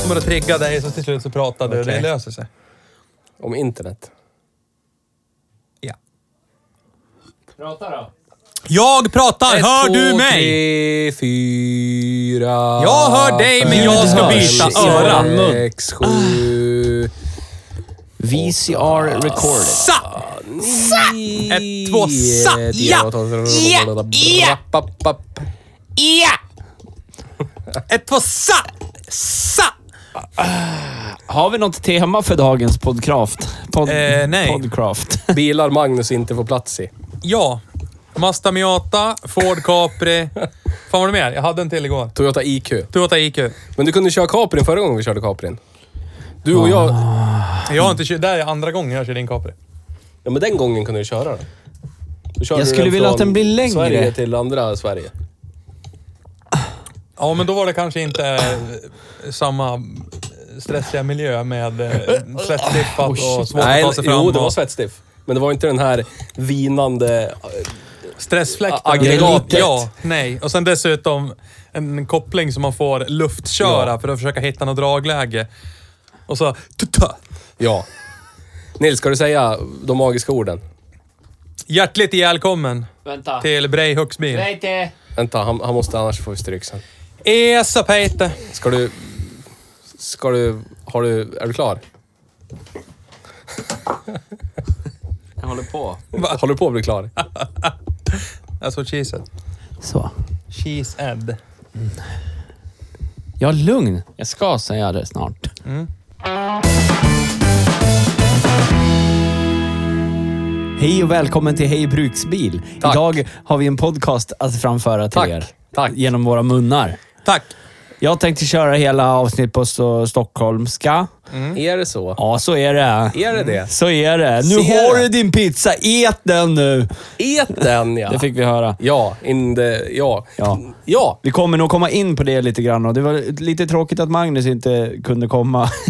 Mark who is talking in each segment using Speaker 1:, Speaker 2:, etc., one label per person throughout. Speaker 1: kommer att trigga dig så till slut så pratar du och det
Speaker 2: Okej.
Speaker 1: löser sig.
Speaker 2: Om internet.
Speaker 1: Ja.
Speaker 3: Prata då.
Speaker 1: Jag pratar, hör
Speaker 2: Ett,
Speaker 1: du
Speaker 2: två,
Speaker 1: mig?
Speaker 2: tre, fyra...
Speaker 1: Jag hör dig, men
Speaker 2: fem,
Speaker 1: jag ska
Speaker 2: sex,
Speaker 1: byta öra.
Speaker 2: Sex, sju...
Speaker 3: VCR recorded.
Speaker 1: Sa! Ett, två, sa!
Speaker 2: tio,
Speaker 1: Ja!
Speaker 2: åtta,
Speaker 1: Ja! Ja!
Speaker 2: rapp, rapp.
Speaker 1: Ja! Ett, två, sa! Sa!
Speaker 3: Har vi något tema för dagens podcraft? Pod,
Speaker 1: Eh, nej.
Speaker 3: Podcraft.
Speaker 2: Bilar Magnus inte får plats i.
Speaker 1: Ja. Mazda Miata, Ford Capri. Fan var det mer? Jag hade en till igår.
Speaker 2: Toyota IQ.
Speaker 1: Toyota IQ.
Speaker 2: Men du kunde köra Caprin förra gången vi körde Caprin. Du och jag...
Speaker 1: Jag har inte kört... Det här är andra gången jag kör din Capri.
Speaker 2: Ja, men den gången kunde du köra den. Då körde
Speaker 3: Jag
Speaker 2: du
Speaker 3: skulle
Speaker 2: den
Speaker 3: vilja
Speaker 2: från
Speaker 3: att den blir längre.
Speaker 2: Sverige till andra Sverige.
Speaker 1: Ja, men då var det kanske inte eh, samma stressiga miljö med eh, svettdippat och svårt att ta sig fram.
Speaker 2: jo, det var
Speaker 1: och
Speaker 2: svettstiff. Men det var inte den här vinande... eh,
Speaker 1: Stressfläkten.
Speaker 2: A- aggregatet.
Speaker 1: Ja, nej. Och sen dessutom en koppling som man får luftköra för att försöka hitta något dragläge. Och så... Tutta.
Speaker 2: Ja. Nils, ska du säga de magiska orden?
Speaker 1: Hjärtligt välkommen
Speaker 3: Vänta.
Speaker 1: till Breihooks bil.
Speaker 3: till...
Speaker 2: Vänta, han, han måste annars få stryk sen.
Speaker 1: Esa Peite.
Speaker 2: Ska du... Ska du... Har du... Är du klar?
Speaker 3: Jag håller på.
Speaker 2: Håller du på att bli klar?
Speaker 1: Alltså she said.
Speaker 3: Så.
Speaker 1: She said.
Speaker 3: Jag är lugn. Jag ska säga det snart.
Speaker 2: Mm.
Speaker 3: Hej och välkommen till Hej Bruksbil.
Speaker 2: Tack.
Speaker 3: Idag har vi en podcast att framföra till
Speaker 2: Tack.
Speaker 3: er.
Speaker 2: Tack.
Speaker 3: Genom våra munnar.
Speaker 1: Tack.
Speaker 3: Jag tänkte köra hela avsnitt på så stockholmska.
Speaker 2: Är det så?
Speaker 3: Ja, så är det.
Speaker 2: Är det det?
Speaker 3: Så är det. Nu
Speaker 2: Ser
Speaker 3: har
Speaker 2: det.
Speaker 3: du din pizza. Ät den nu!
Speaker 2: Ät den ja!
Speaker 3: Det fick vi höra.
Speaker 2: Ja, in the, ja.
Speaker 3: Ja.
Speaker 2: Ja.
Speaker 3: Vi kommer nog komma in på det lite grann och det var lite tråkigt att Magnus inte kunde komma.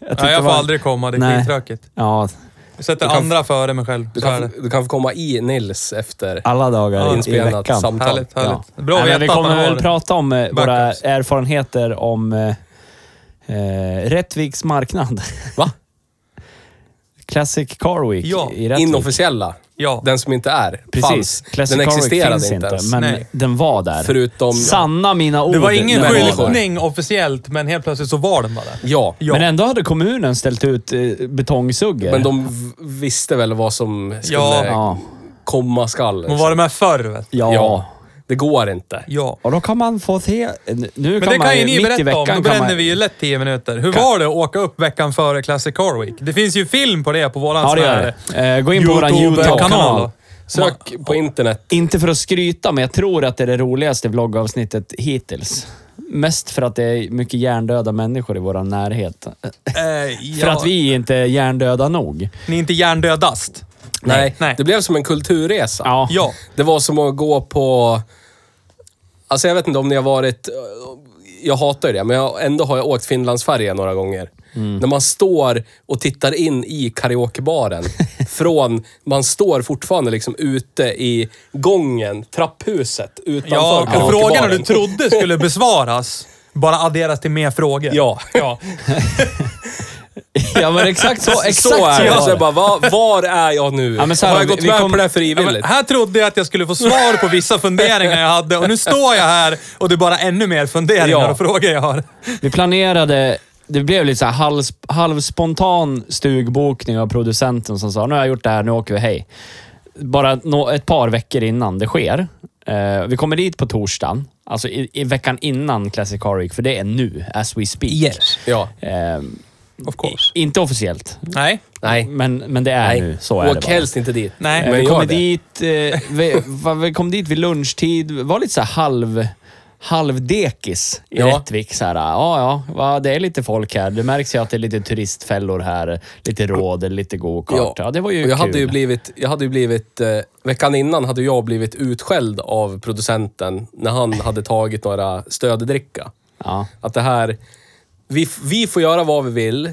Speaker 3: Jag tyckte
Speaker 1: Ja, jag
Speaker 3: det
Speaker 1: får
Speaker 3: var-
Speaker 1: aldrig komma. Det är
Speaker 3: Nej.
Speaker 1: skittråkigt.
Speaker 3: Ja,
Speaker 1: Jag sätter
Speaker 2: kan-
Speaker 1: andra före mig själv.
Speaker 2: Du,
Speaker 1: Så är
Speaker 2: kan,
Speaker 1: det.
Speaker 2: få- du kan få komma i Nils efter
Speaker 3: alla dagar i
Speaker 2: inspelat
Speaker 3: veckan.
Speaker 2: samtal.
Speaker 1: Härligt, härligt.
Speaker 3: Ja.
Speaker 1: Bra att
Speaker 3: Nej,
Speaker 1: veta
Speaker 3: men vi
Speaker 1: att
Speaker 3: kommer
Speaker 1: man
Speaker 3: väl
Speaker 1: har...
Speaker 3: prata om eh, våra
Speaker 1: backups.
Speaker 3: erfarenheter om eh, eh, Rättviks marknad.
Speaker 2: Va?
Speaker 3: Classic Car Week
Speaker 1: Ja,
Speaker 3: i Rättvik.
Speaker 2: Inofficiella.
Speaker 1: Ja.
Speaker 2: Den som inte är.
Speaker 3: Precis.
Speaker 2: Fanns.
Speaker 3: Classic
Speaker 2: Den
Speaker 3: Car Week
Speaker 2: existerade
Speaker 3: finns
Speaker 2: inte
Speaker 3: inte,
Speaker 2: ens.
Speaker 3: men
Speaker 1: Nej.
Speaker 3: den var där.
Speaker 2: Förutom...
Speaker 3: Sanna mina ord.
Speaker 1: Det var ingen
Speaker 3: den var där.
Speaker 1: skyltning officiellt, men helt plötsligt så var den bara där.
Speaker 2: Ja.
Speaker 1: Ja.
Speaker 3: Men ändå hade kommunen ställt ut eh, betongsuggor.
Speaker 2: Men de v- visste väl vad som skulle
Speaker 1: Ja.
Speaker 3: Ja.
Speaker 2: komma skall.
Speaker 1: Hon var det med förr, vet du.
Speaker 3: Ja.
Speaker 2: Ja. Det går inte.
Speaker 1: Ja.
Speaker 3: Och då kan man få se... Nu kan
Speaker 1: Men det
Speaker 3: man
Speaker 1: kan ju
Speaker 3: ju
Speaker 1: ni
Speaker 3: mitt i
Speaker 1: berätta
Speaker 3: veckan
Speaker 1: om. Då
Speaker 3: kan
Speaker 1: bränner
Speaker 3: man,
Speaker 1: vi ju lätt 10 minuter. Hur var det att åka upp veckan före Classic Car Week? Det finns ju film på det på våran
Speaker 3: Ja, det
Speaker 1: sån här-
Speaker 3: gör det. Eh, gå in på vår
Speaker 1: YouTube-kanal.
Speaker 3: YouTube-kanal.
Speaker 2: Sök på internet.
Speaker 3: Inte för att skryta, men jag tror att det är det roligaste vloggavsnittet hittills. Mest för att det är mycket hjärndöda människor i vår närhet.
Speaker 1: Eh, ja.
Speaker 3: För att vi inte är hjärndöda nog.
Speaker 1: Ni är inte hjärndödast.
Speaker 2: Nej.
Speaker 1: Nej.
Speaker 2: Det blev som en kulturresa.
Speaker 3: Ja.
Speaker 1: Ja.
Speaker 2: Det var som att gå på... Alltså jag vet inte om ni har varit... Jag hatar ju det, men jag, ändå har jag åkt Finlandsfärja några gånger. När man står och tittar in i karaokebaren. från... Man står fortfarande liksom ute i gången, trapphuset, utanför
Speaker 1: Ja, och
Speaker 2: karaokebaren.
Speaker 1: frågorna du trodde skulle besvaras bara adderas till mer frågor.
Speaker 2: Ja.
Speaker 1: ja.
Speaker 3: ja, men exakt så. Exakt
Speaker 2: så är det.
Speaker 3: var
Speaker 2: Så jag bara, var, var är jag nu?
Speaker 3: Ja, men så här
Speaker 2: har jag
Speaker 3: då, vi-
Speaker 2: gått
Speaker 3: vi
Speaker 2: med
Speaker 3: kommer-
Speaker 2: på det
Speaker 1: Ja,
Speaker 2: här
Speaker 1: men
Speaker 2: frivilligt?
Speaker 1: här trodde jag att jag skulle få svar på vissa funderingar jag hade och nu står jag här och det är bara ännu mer funderingar
Speaker 2: Ja.
Speaker 1: och frågor jag har.
Speaker 3: Vi planerade, det blev lite så här halv, halvspontan stugbokning av producenten som sa nu har jag gjort det här, nu åker vi, hej. bara nå, ett par veckor innan det sker. Eh, vi kommer dit på torsdagen, alltså i, i veckan innan Classic Car Week, för det är nu, as we speak.
Speaker 2: Ja.
Speaker 3: Eh,
Speaker 1: Of
Speaker 3: i,
Speaker 1: course.
Speaker 3: inte officiellt,
Speaker 1: Nej.
Speaker 2: Nej.
Speaker 3: men, men det är nu. Så är
Speaker 2: Åk
Speaker 3: det bara.
Speaker 2: helst inte dit.
Speaker 1: Nej.
Speaker 3: Eh,
Speaker 2: men
Speaker 3: vi,
Speaker 2: gör
Speaker 3: kom
Speaker 2: det.
Speaker 3: dit, eh, vi, va- vi kom dit vid lunchtid, var lite så här halv halvdekis i
Speaker 2: Ja.
Speaker 3: Rättvik. Så här, ja, ja, va, det är lite folk här. Det märks ju att det är lite turistfällor här. Lite råd, lite go-kart. Ja. det var ju
Speaker 2: Och jag
Speaker 3: kul.
Speaker 2: hade ju blivit, jag hade ju blivit eh, veckan innan hade jag blivit utskälld av producenten när han hade tagit några stöddricka.
Speaker 3: ja.
Speaker 2: Att det här, vi, vi får göra vad vi vill.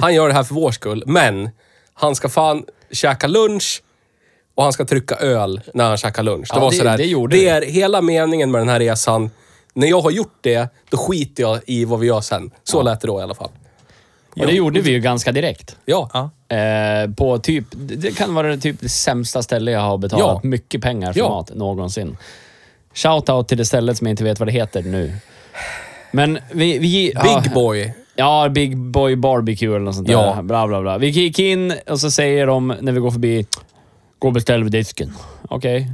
Speaker 2: Han gör det här för vår skull, men han ska fan käka lunch och han ska trycka öl när han käkar lunch. Det
Speaker 3: Ja,
Speaker 2: var
Speaker 3: det-
Speaker 2: sådär,
Speaker 3: det gjorde
Speaker 2: det
Speaker 3: vi.
Speaker 2: är hela meningen med den här resan. När jag har gjort det, då skiter jag i vad vi gör sen. Så lät det då i alla fall.
Speaker 3: Och det gjorde vi ju ganska direkt.
Speaker 2: Ja.
Speaker 1: Ja.
Speaker 3: Eh, på typ, det kan vara det typ det sämsta ställe jag har betalat
Speaker 2: Ja.
Speaker 3: mycket pengar för
Speaker 2: Ja.
Speaker 3: mat någonsin. Shoutout till det stället som jag inte vet vad det heter nu. Men vi... vi ja.
Speaker 2: Big boy.
Speaker 3: Ja, Big Boy Barbecue eller något sånt
Speaker 2: Ja.
Speaker 3: där. Bla, bla, bla. Vi gick in och så säger de när vi går förbi, gå och beställ vid disken. Okej.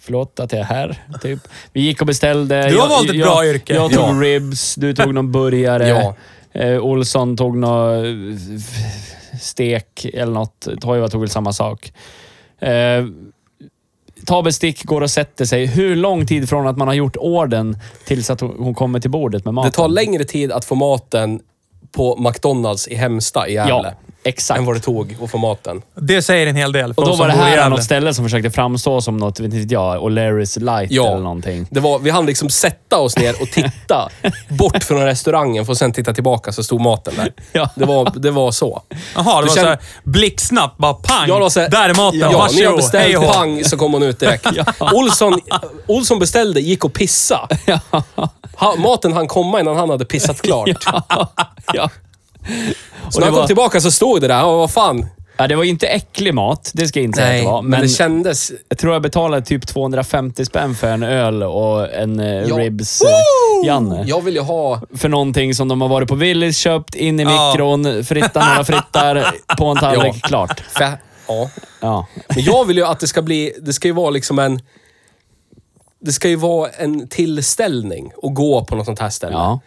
Speaker 3: Förlåt att jag är här, typ. Vi gick och beställde.
Speaker 1: Du har
Speaker 3: Jag-
Speaker 1: valt ett
Speaker 3: jag,
Speaker 1: bra yrke.
Speaker 3: Jag
Speaker 2: Ja.
Speaker 3: tog ribs, du tog någon burgare.
Speaker 2: Ja.
Speaker 3: Eh, Olsson tog någon eh, stek eller något. Toiva tog väl samma sak. Eh, tar bestick, går och sätter sig. Hur lång tid från att man har gjort ordern tills att hon hon kommer till bordet med maten?
Speaker 2: Det tar längre tid att få maten på McDonalds i Hemsta i
Speaker 3: Ja,
Speaker 2: Gävle.
Speaker 3: exakt.
Speaker 2: Än vad det tog att få maten.
Speaker 1: Det säger en hel del. för
Speaker 3: Och då
Speaker 1: oss som
Speaker 3: var det
Speaker 1: bor i
Speaker 3: här
Speaker 1: Gävle.
Speaker 3: något ställe som försökte framstå som något, vet inte jag, O'Learys Light
Speaker 2: Ja.
Speaker 3: eller någonting.
Speaker 2: Det var, vi hann liksom sätta oss ner och titta bort från restaurangen för att sen titta tillbaka så stod maten där.
Speaker 3: Ja.
Speaker 2: Det, var, det var så.
Speaker 1: Jaha, det
Speaker 2: Du
Speaker 1: var
Speaker 2: känner-
Speaker 1: såhär blixtsnabbt. Bara pang!
Speaker 2: Jag la så här-
Speaker 1: Där är maten.
Speaker 2: Ja, när jag
Speaker 1: Varsågod. Hej
Speaker 2: beställde
Speaker 1: och hå.
Speaker 2: pang så kom hon ut direkt. Olsson, Olsson beställde, gick och pissa. Ha, maten hann komma innan han hade pissat klart.
Speaker 3: ja.
Speaker 2: Så när
Speaker 3: det
Speaker 2: han kom
Speaker 3: var- typ-
Speaker 2: tillbaka så stod det där. Ja, vad fan.
Speaker 3: ja, det var ju inte äcklig mat, det ska jag inte säga att det var.
Speaker 2: men,
Speaker 3: Men
Speaker 2: det kändes...
Speaker 3: jag tror jag betalade typ 250 spänn för en öl och en eh,
Speaker 2: Ja.
Speaker 3: ribs, eh, Janne.
Speaker 2: Jag vill ju ha...
Speaker 3: För någonting som de har varit på Willys, köpt, in i
Speaker 1: Ja.
Speaker 3: mikron, fritta några frittar på en tallrik,
Speaker 2: Ja.
Speaker 3: klart.
Speaker 2: Fä, ja.
Speaker 3: Ja.
Speaker 2: Men jag vill ju att det ska bli, det ska ju vara liksom en... Det ska ju vara en tillställning att gå på något sånt här ställe.
Speaker 3: ja.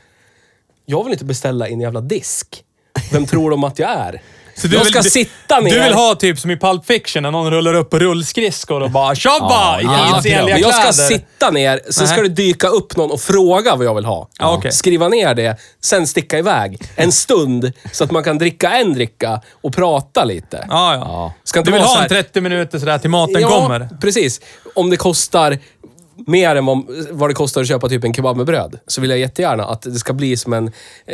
Speaker 2: Jag vill inte beställa en jävla disk. Vem tror de att jag är?
Speaker 1: Så
Speaker 2: jag ska
Speaker 1: du-
Speaker 2: sitta ner.
Speaker 1: Du vill ha typ som i Pulp Fiction, när någon rullar upp på rullskridskor och bara “Tjabba!
Speaker 3: Ja,
Speaker 1: Ja,
Speaker 3: jättebra.
Speaker 1: ja,
Speaker 2: men jag ska sitta ner, sen
Speaker 1: Nej.
Speaker 2: ska det dyka upp någon och fråga vad jag vill ha.
Speaker 1: Ja, okej.
Speaker 2: Skriva ner det, sen sticka iväg en stund så att man kan dricka en dricka och prata lite.
Speaker 1: Ja, ja.
Speaker 2: Ska inte
Speaker 1: du vill
Speaker 2: vara så
Speaker 1: ha
Speaker 2: här-
Speaker 1: en 30 minuter sådär till maten kommer.
Speaker 2: precis. Om det kostar mer än vad, vad det kostar att köpa typ en kebab med bröd, så vill jag jättegärna att det ska bli som en,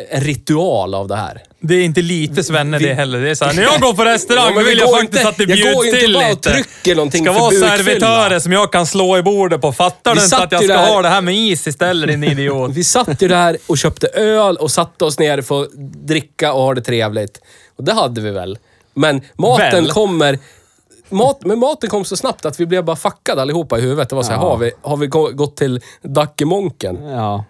Speaker 2: en ritual av det här.
Speaker 1: Det är inte lite Svenne det heller. Det är såhär, när jag går på restaurang
Speaker 2: Ja, men
Speaker 1: då
Speaker 2: vi
Speaker 1: vill jag
Speaker 2: går
Speaker 1: faktiskt
Speaker 2: inte-
Speaker 1: att det
Speaker 2: jag går
Speaker 1: bjuds
Speaker 2: inte
Speaker 1: till
Speaker 2: bara och
Speaker 1: lite.
Speaker 2: trycker någonting
Speaker 1: ska
Speaker 2: för
Speaker 1: vara
Speaker 2: bukfylla.
Speaker 1: servitörer som jag kan slå i bordet på. Fattar
Speaker 2: Vi
Speaker 1: du inte
Speaker 2: satt
Speaker 1: att jag
Speaker 2: ju
Speaker 1: ska
Speaker 2: där-
Speaker 1: ha det här med is istället din idiot?
Speaker 2: Vi satt ju där och köpte öl och satte oss ner för att dricka och ha det trevligt. Och det hade vi väl. Men maten
Speaker 1: Väl.
Speaker 2: kommer... Mat, men maten kom så snabbt att vi blev bara fuckade allihopa i huvudet. Det var så här,
Speaker 3: Ja.
Speaker 2: har, vi, har vi gå- gått till Dackemonken?
Speaker 3: ja.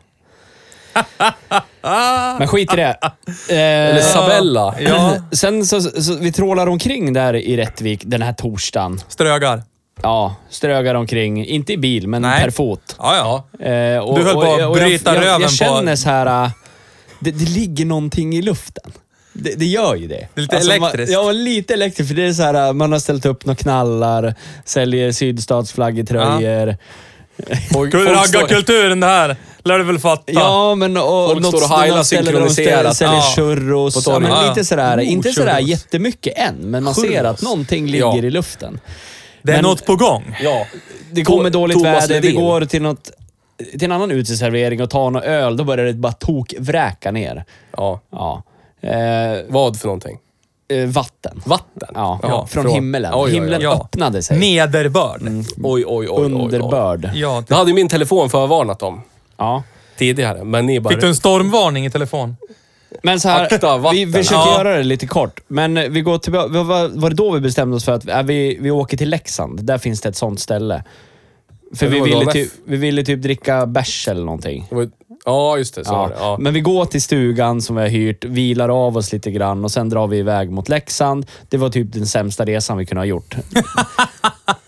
Speaker 3: Men skit i det. Eh, Eller
Speaker 2: Eller Sabella?
Speaker 1: Ja,
Speaker 3: Sen så, så vi trålar omkring där i Rättvik den här torsdagen.
Speaker 1: strögar.
Speaker 3: Ja, strögar omkring. Inte i bil, men
Speaker 1: Nej.
Speaker 3: per fot.
Speaker 1: Ja, ja.
Speaker 3: Eh, och,
Speaker 1: Du höll på att
Speaker 3: jag-
Speaker 1: bryta
Speaker 3: jag, jag,
Speaker 1: röven
Speaker 3: jag
Speaker 1: på-
Speaker 3: känner så här... äh, Det, det ligger någonting i luften. Det, det gör ju det. Alltså,
Speaker 1: Det är lite elektriskt.
Speaker 3: Man, ja, lite elektriskt. För det är så här, äh, man har ställt upp några knallar, säljer sydstatsflagg i tröjor. Ja.
Speaker 2: Folk-
Speaker 1: Kul
Speaker 2: folk står-
Speaker 1: raggarkulturen det här. Lär du väl fatta.
Speaker 3: men och
Speaker 2: Folk står och
Speaker 3: något-
Speaker 2: heilar
Speaker 3: något ställe där de
Speaker 2: synkroniserat.
Speaker 3: Säljer
Speaker 1: Ja.
Speaker 2: På
Speaker 3: churros. Ja,
Speaker 2: torget.
Speaker 1: Ja,
Speaker 3: men
Speaker 1: ja.
Speaker 3: lite sådär,
Speaker 1: Oh,
Speaker 3: inte sådär
Speaker 1: churros.
Speaker 3: jättemycket än, men man ser
Speaker 2: Churros.
Speaker 3: att någonting ligger
Speaker 2: Ja.
Speaker 3: i luften.
Speaker 1: det är
Speaker 3: men-
Speaker 1: något på gång.
Speaker 2: Ja.
Speaker 3: Det kommer
Speaker 2: To-
Speaker 3: dåligt
Speaker 2: Thomas
Speaker 3: väder, vi
Speaker 2: Ledin.
Speaker 3: går till, något, till en annan uteservering och tar någon öl, då börjar det bara tokvräka ner.
Speaker 2: ja.
Speaker 3: Ja. Eh,
Speaker 2: Vad för någonting?
Speaker 3: eh, vatten.
Speaker 2: Vatten?
Speaker 3: Ja,
Speaker 1: Ja,
Speaker 3: från,
Speaker 2: från-
Speaker 3: himmelen.
Speaker 2: Oj, oj, oj.
Speaker 3: Himlen
Speaker 1: Ja.
Speaker 3: öppnade sig.
Speaker 1: Nederbörd.
Speaker 2: Oj, oj, oj, oj. oj.
Speaker 3: Underbörd.
Speaker 1: Ja,
Speaker 2: Det hade ju min telefon förvarnat om
Speaker 3: Ja.
Speaker 2: tidigare, men ni bara...
Speaker 1: fick du en stormvarning i telefon?
Speaker 3: Men så här,
Speaker 2: Akta vatten.
Speaker 3: vi, vi försöker
Speaker 1: Ja.
Speaker 3: göra det lite kort. Men eh, vi går tillbaka. vad- vad- Var det då vi bestämde oss för att äh, vi, vi åker till Leksand? Där finns det ett sånt ställe. För
Speaker 2: Det
Speaker 3: vi
Speaker 2: var
Speaker 3: ville,
Speaker 2: dagen
Speaker 3: typ,
Speaker 2: efter.
Speaker 3: vi ville typ dricka bärs eller någonting.
Speaker 2: Det var ju- Ja, just det. Så var
Speaker 3: Ja.
Speaker 2: det. Ja.
Speaker 3: Men vi går till stugan som vi har hyrt, vilar av oss lite grann och sen drar vi iväg mot Leksand. Det var typ den sämsta resan vi kunde ha gjort.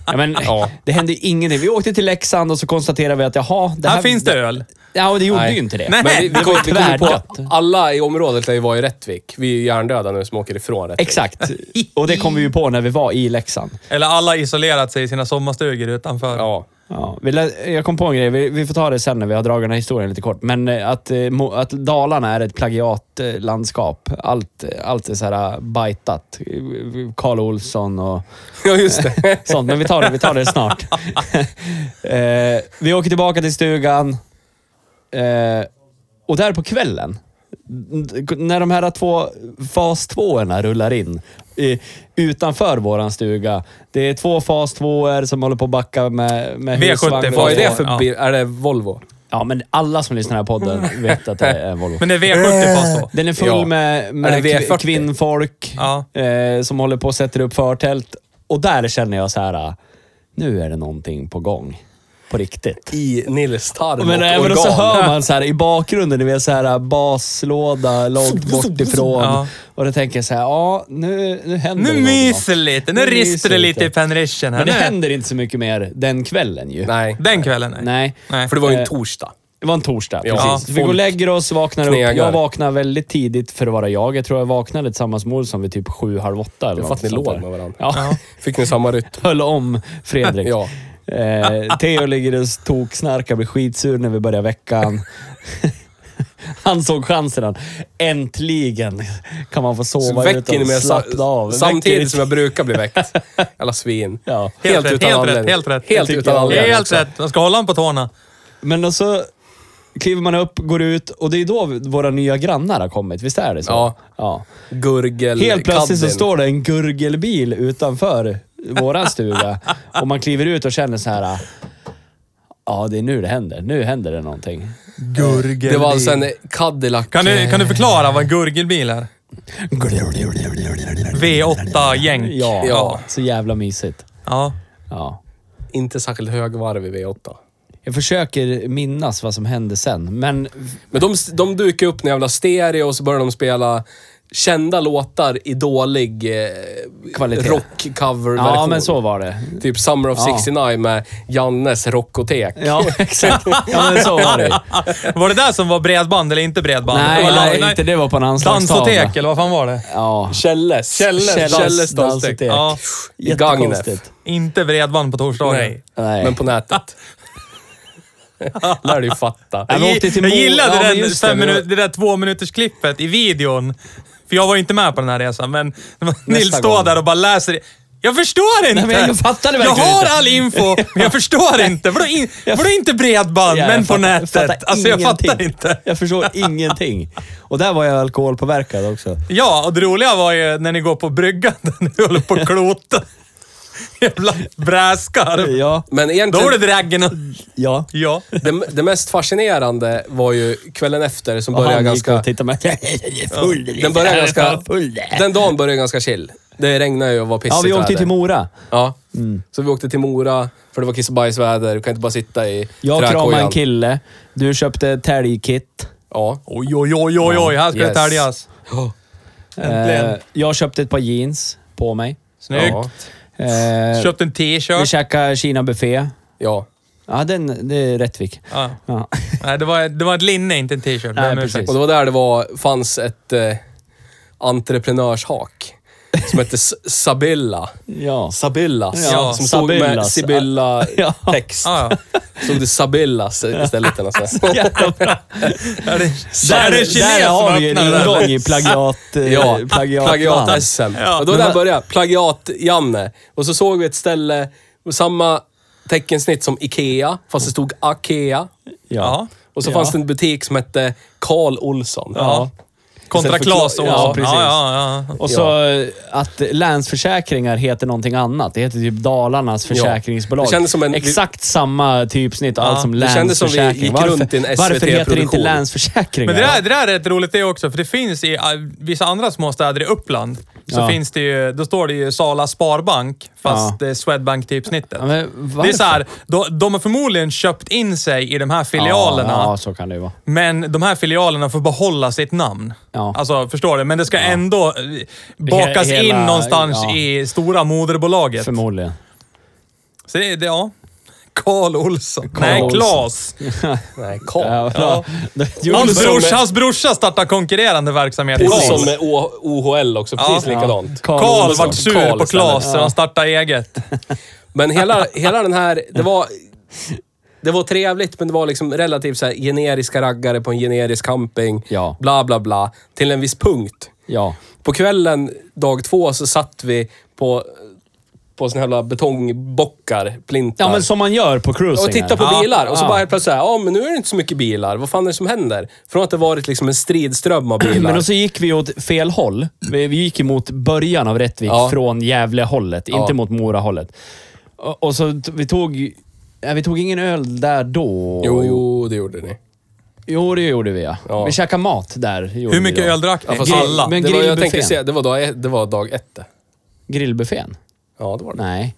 Speaker 3: ja, men, Det hände ju ingenting. Vi åkte till Leksand och så konstaterade vi att jaha... Det
Speaker 1: Här finns det öl.
Speaker 3: Ja, och det gjorde
Speaker 2: Nej.
Speaker 3: ju inte det.
Speaker 1: Nej.
Speaker 2: Men vi, vi,
Speaker 1: Det
Speaker 2: kom-
Speaker 3: var
Speaker 2: vi kom ju på
Speaker 3: tvärdött.
Speaker 2: alla i området där vi var i Rättvik. Vi är ju hjärndöda nu som åker ifrån Rättvik.
Speaker 3: Exakt. Och det kom vi ju på när vi var i Leksand.
Speaker 1: Eller alla isolerat sig i sina sommarstugor utanför.
Speaker 2: Ja.
Speaker 3: Ja, vi lä- jag kom på en grej. Vi, vi får ta det sen när vi har dragit den här historien lite kort. Men eh, att, eh, mo- att Dalarna är ett plagiatlandskap. Allt, eh, allt är så här eh, bajtat. Karl Olsson och
Speaker 2: ja, just det.
Speaker 3: sånt. Men vi tar det, vi tar det snart. eh, vi åker tillbaka till stugan. Eh, och där på kvällen, n- när de här två fas 2 rullar in eh, utanför våran stuga. Det är två fas 2 som håller på att backa med, med
Speaker 1: V70
Speaker 3: husvagn.
Speaker 2: Vad är det
Speaker 1: Ja.
Speaker 2: för bil? Är det Volvo?
Speaker 3: Ja, men alla som lyssnar på den här podden vet att det är en Volvo.
Speaker 1: Men det är V70 fast då.
Speaker 3: Den är full
Speaker 2: Ja.
Speaker 3: med,
Speaker 2: Är
Speaker 3: med
Speaker 2: det
Speaker 3: kv-
Speaker 2: V40?
Speaker 3: kvinnfolk
Speaker 1: Ja.
Speaker 3: eh, som håller på och sätter upp förtält. Och där känner jag så här, ah, nu är det någonting på gång. På riktigt.
Speaker 2: I Nils tarm och
Speaker 3: Men även
Speaker 2: organ.
Speaker 3: och så hör man så här i bakgrunden, ni vet så här eh, baslåda långt bort ifrån.
Speaker 1: Ja.
Speaker 3: Och då tänker jag så här, ja nu, nu händer
Speaker 1: Nu
Speaker 3: det någonting.
Speaker 1: myser det lite. Nu
Speaker 3: Nu
Speaker 1: rister
Speaker 3: myser
Speaker 1: det
Speaker 3: det
Speaker 1: lite i
Speaker 3: lite.
Speaker 1: penrishen här.
Speaker 3: Men det
Speaker 1: Nu-
Speaker 3: händer inte så mycket mer den kvällen ju.
Speaker 2: Nej.
Speaker 1: Den kvällen, nej.
Speaker 3: Nej. Eh,
Speaker 1: Nej.
Speaker 2: För det var ju en torsdag.
Speaker 3: Det var en torsdag,
Speaker 2: Ja.
Speaker 3: precis. vi går och
Speaker 2: Folk
Speaker 3: lägger oss, vaknar
Speaker 2: knegar.
Speaker 3: upp. Jag vaknar väldigt tidigt för att vara jag. Jag tror jag vaknade tillsammans med Olsson vid typ sju, halv åtta eller
Speaker 2: Det var att
Speaker 3: något
Speaker 2: ni
Speaker 3: sånt
Speaker 2: låg
Speaker 3: där.
Speaker 2: med varandra.
Speaker 3: Ja.
Speaker 2: Fick ni samma rytm?
Speaker 3: Höll om Fredrik.
Speaker 2: Ja.
Speaker 3: Eh, Theo ligger och toksnarkar, blir skitsur när vi börjar veckan. Han såg chansen. Han. Äntligen kan man få
Speaker 2: Så
Speaker 3: sova
Speaker 2: väcker
Speaker 3: utan
Speaker 2: ni
Speaker 3: att
Speaker 2: mig
Speaker 3: slappna av.
Speaker 2: sa-
Speaker 3: Väcker-
Speaker 2: samtidigt som jag brukar bli väckt. Alla svin.
Speaker 3: Ja.
Speaker 1: Helt, rätt,
Speaker 2: utan
Speaker 1: helt rätt,
Speaker 2: anledning.
Speaker 1: helt rätt.
Speaker 2: Helt
Speaker 3: tycker
Speaker 2: utan
Speaker 3: jag.
Speaker 2: anledning.
Speaker 1: Helt
Speaker 2: också.
Speaker 1: rätt. Man ska hålla honom på tårna.
Speaker 3: Men och så kliver man upp, går ut och det är då våra nya grannar har kommit. Visst är det så?
Speaker 2: Ja.
Speaker 3: ja.
Speaker 2: Gurgel,
Speaker 3: Helt plötsligt så
Speaker 2: kadden.
Speaker 3: står det en gurgelbil utanför våran stuga och man kliver ut och känner så här. "Ah, Ja, det är nu det händer. Nu händer det någonting.
Speaker 1: Gurgelbil.
Speaker 2: Det var alltså en Cadillac. eh,
Speaker 1: Kan du, kan du förklara vad en gurgelbil är? V8-jänk.
Speaker 3: Ja,
Speaker 2: Ja.
Speaker 3: så jävla mysigt.
Speaker 1: ja.
Speaker 3: Ja.
Speaker 2: Inte särskilt högvarv i V8.
Speaker 3: Jag försöker minnas vad som hände sen, men
Speaker 2: Men de, de dukar upp en jävla stereo och så börjar de spela kända låtar i dålig eh,
Speaker 3: Kvalitet.
Speaker 2: rockcoverversion.
Speaker 3: ja, men så var det.
Speaker 2: Typ Summer of
Speaker 3: Ja.
Speaker 2: 69 med Jannes Rockotek.
Speaker 3: Ja, exakt. Ja, men så var det.
Speaker 1: Var det där som var bredband eller inte bredband?
Speaker 3: Nej,
Speaker 1: det var,
Speaker 3: nej, inte det var på en anslagstavla.
Speaker 1: Dansotek, eller vad fan var det?
Speaker 3: Ja.
Speaker 2: Källes. Källes,
Speaker 3: Källes
Speaker 2: Källes
Speaker 3: dansotek.
Speaker 2: dansotek.
Speaker 1: Ja.
Speaker 3: Jättekonstigt.
Speaker 1: Inte bredband på torsdagar.
Speaker 2: Nej.
Speaker 3: Nej.
Speaker 2: Men på nätet. Lär du ju fatta.
Speaker 3: Ja, vi
Speaker 1: Jag,
Speaker 3: åkte till
Speaker 1: jag
Speaker 3: Mo-
Speaker 1: gillade
Speaker 3: ja, men
Speaker 1: den
Speaker 3: just det,
Speaker 1: fem
Speaker 3: vi var-
Speaker 1: minut, det där två minuters klippet i videon. För jag var ju inte med på den här resan, men Nils står
Speaker 3: gång.
Speaker 1: där och bara läser. det. Jag förstår inte!
Speaker 3: men jag fattar det verkligen
Speaker 1: Jag har
Speaker 3: inte.
Speaker 1: all info, men jag förstår inte. Vadå in, vadå inte bredband,
Speaker 3: Ja, jag
Speaker 1: men på
Speaker 3: fattar-
Speaker 1: nätet?
Speaker 3: fattar
Speaker 1: alltså jag fattar
Speaker 3: ingenting.
Speaker 1: inte.
Speaker 3: Jag förstår ingenting. Och där var jag alkoholpåverkad också.
Speaker 1: Ja, och det roliga var ju när ni går på bryggan, där ni håller på och klota. Jävla bräskarv.
Speaker 3: Ja,
Speaker 2: Men
Speaker 1: Då
Speaker 2: egentligen...
Speaker 1: var det draggen och...
Speaker 3: ja.
Speaker 1: Ja.
Speaker 2: Det, det mest fascinerande var ju kvällen efter som
Speaker 3: Och
Speaker 2: började
Speaker 3: han gick
Speaker 2: ganska...
Speaker 3: och tittade med. full,
Speaker 2: Den började ganska...
Speaker 3: Full. Den,
Speaker 2: Den dagen började ganska chill. Det regnade ju och var pissigt
Speaker 3: ja, vi åkte
Speaker 2: väder.
Speaker 3: ju till Mm. Mora.
Speaker 2: Ja. Så vi åkte till Mora, för det var kiss och bajsväder. Du kan inte bara sitta i
Speaker 3: Jag
Speaker 2: träkojan.
Speaker 3: kramade en kille. Du köpte täljkit.
Speaker 2: Ja.
Speaker 1: Oj, oj, oj, oj, oj. Här ska
Speaker 2: Yes.
Speaker 1: det täljas. Äntligen.
Speaker 3: Eh, jag köpte ett par jeans på mig.
Speaker 1: Snyggt.
Speaker 2: Ja.
Speaker 3: Eh,
Speaker 1: Köpt en
Speaker 3: vi
Speaker 1: t-shirt.
Speaker 3: käkade Kina-buffé.
Speaker 2: ja.
Speaker 3: Ja, den, det är Rättvik.
Speaker 1: Ja.
Speaker 3: Ja.
Speaker 1: Nej, det var, det var ett linne, inte en t-shirt.
Speaker 3: Nej,
Speaker 1: Ber om
Speaker 3: precis.
Speaker 1: ursäkt.
Speaker 2: Och det var där det var, fanns ett eh, entreprenörshak som hette S- Sabilla.
Speaker 3: ja.
Speaker 2: Sabillas.
Speaker 3: Ja,
Speaker 2: som stod med
Speaker 3: Sabillas. Ja.
Speaker 2: Sibylla-text.
Speaker 1: Ja, ja.
Speaker 2: Stod det Sabillas istället. eller nåt sånt där.
Speaker 3: Jävla bra.
Speaker 1: Är det,
Speaker 3: Där,
Speaker 1: är det kines
Speaker 3: där har
Speaker 1: som
Speaker 3: vi ju en
Speaker 1: öppnar
Speaker 3: ingång
Speaker 1: den?
Speaker 3: i plagiat... eh,
Speaker 2: Ja,
Speaker 3: plagiat,
Speaker 2: plagiat-SM.
Speaker 1: Ja.
Speaker 2: Och då
Speaker 1: Men
Speaker 2: där
Speaker 1: vad-
Speaker 2: började jag. Plagiat-Janne. Och så såg vi ett ställe med samma teckensnitt som Ikea, fast det stod Akea.
Speaker 3: Ja.
Speaker 1: Ja.
Speaker 2: Och så
Speaker 3: Ja.
Speaker 2: fanns det en butik som hette Carl Olsson.
Speaker 3: Ja.
Speaker 1: Kontra
Speaker 2: Istället för
Speaker 1: Clas
Speaker 2: Cla-
Speaker 1: Ohlson.
Speaker 2: Ja, precis.
Speaker 1: Ja, ja, ja.
Speaker 3: Och så eh, att Länsförsäkringar heter någonting annat. Det heter typ Dalarnas försäkringsbolag.
Speaker 2: Det kändes som en-
Speaker 3: Exakt samma typsnitt allt som
Speaker 2: det kändes som vi
Speaker 3: Länsförsäkring.
Speaker 2: gick
Speaker 3: varför,
Speaker 2: runt i en
Speaker 3: varför heter det inte
Speaker 2: SVT-produktion?
Speaker 3: Länsförsäkringar?
Speaker 1: Men det där, det där är rätt roligt det också, för det finns i eh, vissa andra småstäder i Uppland. Så
Speaker 3: Ja.
Speaker 1: finns det ju, då står det ju Sala Sparbank, fast det är Swedbank-typsnittet.
Speaker 3: Ja, men
Speaker 1: det är
Speaker 3: varför?
Speaker 1: så här, de, de har förmodligen köpt in sig i de här filialerna.
Speaker 3: Ja, ja, så kan det ju vara.
Speaker 1: Men de här filialerna får behålla sitt namn.
Speaker 3: Ja.
Speaker 1: Alltså, förstår du? Men det ska ändå eh, bakas
Speaker 3: He- hela-
Speaker 1: in någonstans
Speaker 3: ja.
Speaker 1: i stora moderbolaget.
Speaker 3: Förmodligen.
Speaker 1: Så det, det ja. Karl Olsson.
Speaker 3: Carl
Speaker 1: Nej,
Speaker 3: Olsson.
Speaker 1: Klas.
Speaker 2: Nej, Karl.
Speaker 3: Ja,
Speaker 1: Ja. Hans,
Speaker 2: Olsson
Speaker 1: brors,
Speaker 2: med-
Speaker 1: hans brorsa startar konkurrerande verksamhet.
Speaker 2: Olsson
Speaker 1: Karl.
Speaker 2: med O- OHL också, precis
Speaker 1: Ja.
Speaker 2: likadant.
Speaker 3: Karl
Speaker 1: Karl
Speaker 3: Olsson.
Speaker 1: vart sur
Speaker 2: Karl
Speaker 1: på Klas
Speaker 2: istället.
Speaker 1: så han startade eget.
Speaker 2: Men hela, hela den här... Det var, det var trevligt, men det var liksom relativt så här, generiska raggare på en generisk camping.
Speaker 3: Ja.
Speaker 2: Bla, bla, bla. Till en viss punkt.
Speaker 3: Ja.
Speaker 2: På kvällen, dag två, så satt vi på, på såna jävla betongbockar, plintar.
Speaker 3: ja, men som man gör på cruising.
Speaker 2: och titta på
Speaker 3: här.
Speaker 1: Ja.
Speaker 2: bilar och så
Speaker 3: Ja.
Speaker 2: bara helt plötsligt såhär, ja men nu är det inte så mycket bilar. Vad fan är det som händer? Från att det varit liksom en stridström av bilar.
Speaker 3: Men och så gick vi åt fel håll. Vi, vi gick emot början av Rättvik
Speaker 2: Ja.
Speaker 3: från Gävle-hållet,
Speaker 2: Ja.
Speaker 3: inte mot Mora-hållet. Och, och så t- vi tog... Nej, vi tog ingen öl där då.
Speaker 2: jo, jo, det gjorde ni.
Speaker 3: Jo, det gjorde vi ja.
Speaker 2: Ja.
Speaker 3: Vi käkade mat där. gjorde
Speaker 1: Hur
Speaker 3: vi
Speaker 1: mycket
Speaker 3: då.
Speaker 1: öl drack ni?
Speaker 2: Ja, fast-
Speaker 1: Alla.
Speaker 3: Men
Speaker 2: det var, jag
Speaker 3: grillbuffén.
Speaker 2: tänkte säga, det var dag, ett- det var dag ett. det.
Speaker 3: Grillbuffén?
Speaker 2: Ja, det var det.
Speaker 3: Nej.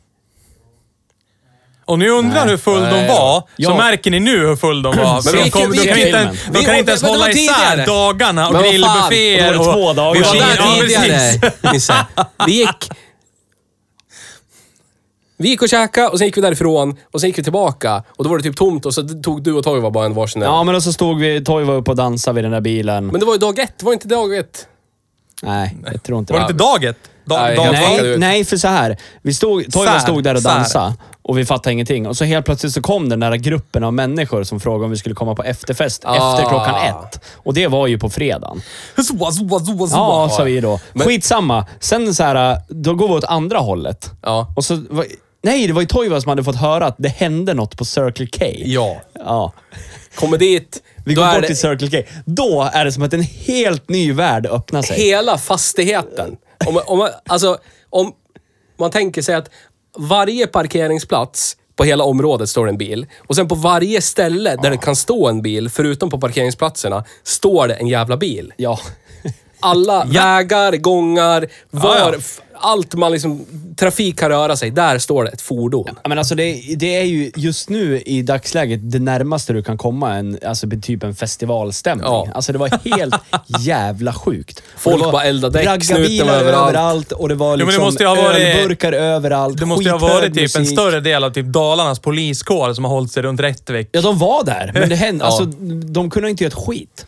Speaker 1: Om ni undrar hur full de
Speaker 2: Nej,
Speaker 1: var,
Speaker 3: ja.
Speaker 1: så
Speaker 3: Ja.
Speaker 1: märker ni nu hur full de var. Men de,
Speaker 2: vilken-
Speaker 1: kom, de kan
Speaker 3: vilken-
Speaker 1: inte, de
Speaker 2: vi-
Speaker 1: kan inte ens
Speaker 2: men det var
Speaker 1: hålla
Speaker 2: tidigare.
Speaker 1: isär dagarna och
Speaker 2: Men vad fan,
Speaker 1: grillbufféer.
Speaker 3: då var det två dagar.
Speaker 1: Vi
Speaker 3: Ja,
Speaker 1: var
Speaker 3: det
Speaker 1: där tidigare.
Speaker 2: Nisse. Vi gick... Vi gick och käkade och sen gick vi därifrån och sen gick vi tillbaka och då var det typ tomt och så tog du och Toivo bara en varsin öl.
Speaker 3: Ja, men och så stod vi... Toivo upp och dansade vid den där bilen.
Speaker 2: Men det var ju dag ett, var det inte dag ett?
Speaker 3: Nej, jag tror inte
Speaker 1: Var det inte daget? Da,
Speaker 2: Nej,
Speaker 1: dag-
Speaker 2: helt
Speaker 1: dag-
Speaker 2: fuckade
Speaker 3: Nej,
Speaker 2: ut.
Speaker 3: nej, för så här. Vi stod,
Speaker 1: Sär,
Speaker 3: Toivo stod där och
Speaker 1: sär.
Speaker 3: dansade och vi fattade ingenting. Och så helt plötsligt så kom den där gruppen av människor som frågade om vi skulle komma på efterfest
Speaker 2: Ah.
Speaker 3: efter klockan ett. Och det var ju på fredagen.
Speaker 1: Zoa, zoa, zoa, zoa.
Speaker 3: Ja, sa vi då. Skitsamma. Sen så här, då går vi åt andra hållet.
Speaker 2: Ja.
Speaker 3: Och så, var- nej, det var ju Toivo som hade fått höra att det hände något på Circle K.
Speaker 2: Ja.
Speaker 3: Ja.
Speaker 2: Kommer dit,
Speaker 3: Vi
Speaker 2: då
Speaker 3: går
Speaker 2: är
Speaker 3: bort
Speaker 2: det
Speaker 3: till Circle K. Då är det som att en helt ny värld öppnar sig.
Speaker 2: hela fastigheten. Om, man- om, man- alltså, om man tänker sig att varje parkeringsplats på hela området står en bil. Och sen på varje ställe där det kan stå en bil, förutom på parkeringsplatserna, står det en jävla bil.
Speaker 3: Ja.
Speaker 2: Alla vägar, gångar, var,
Speaker 1: Ja, ja.
Speaker 2: f- allt man liksom, trafik kan röra sig, där står det ett fordon.
Speaker 3: Ja, men alltså det, det är ju just nu i dagsläget det närmaste du kan komma en, alltså typ en festivalstämning.
Speaker 2: Ja.
Speaker 3: Alltså det var helt jävla sjukt. Och
Speaker 2: Folk
Speaker 3: det var
Speaker 2: bara eldade däck, snuten
Speaker 3: raggarbilar
Speaker 2: var överallt.
Speaker 3: överallt. och det var
Speaker 1: men det
Speaker 3: liksom
Speaker 1: måste ju ha varit-
Speaker 3: ölburkar överallt.
Speaker 1: Det måste ju ha
Speaker 3: skithög
Speaker 1: varit typ en
Speaker 3: musik.
Speaker 1: större del av typ Dalarnas poliskår som har hållit sig runt Rättvik.
Speaker 3: Ja, de var där, men det hände,
Speaker 2: Ja.
Speaker 3: alltså, de kunde inte göra ett skit.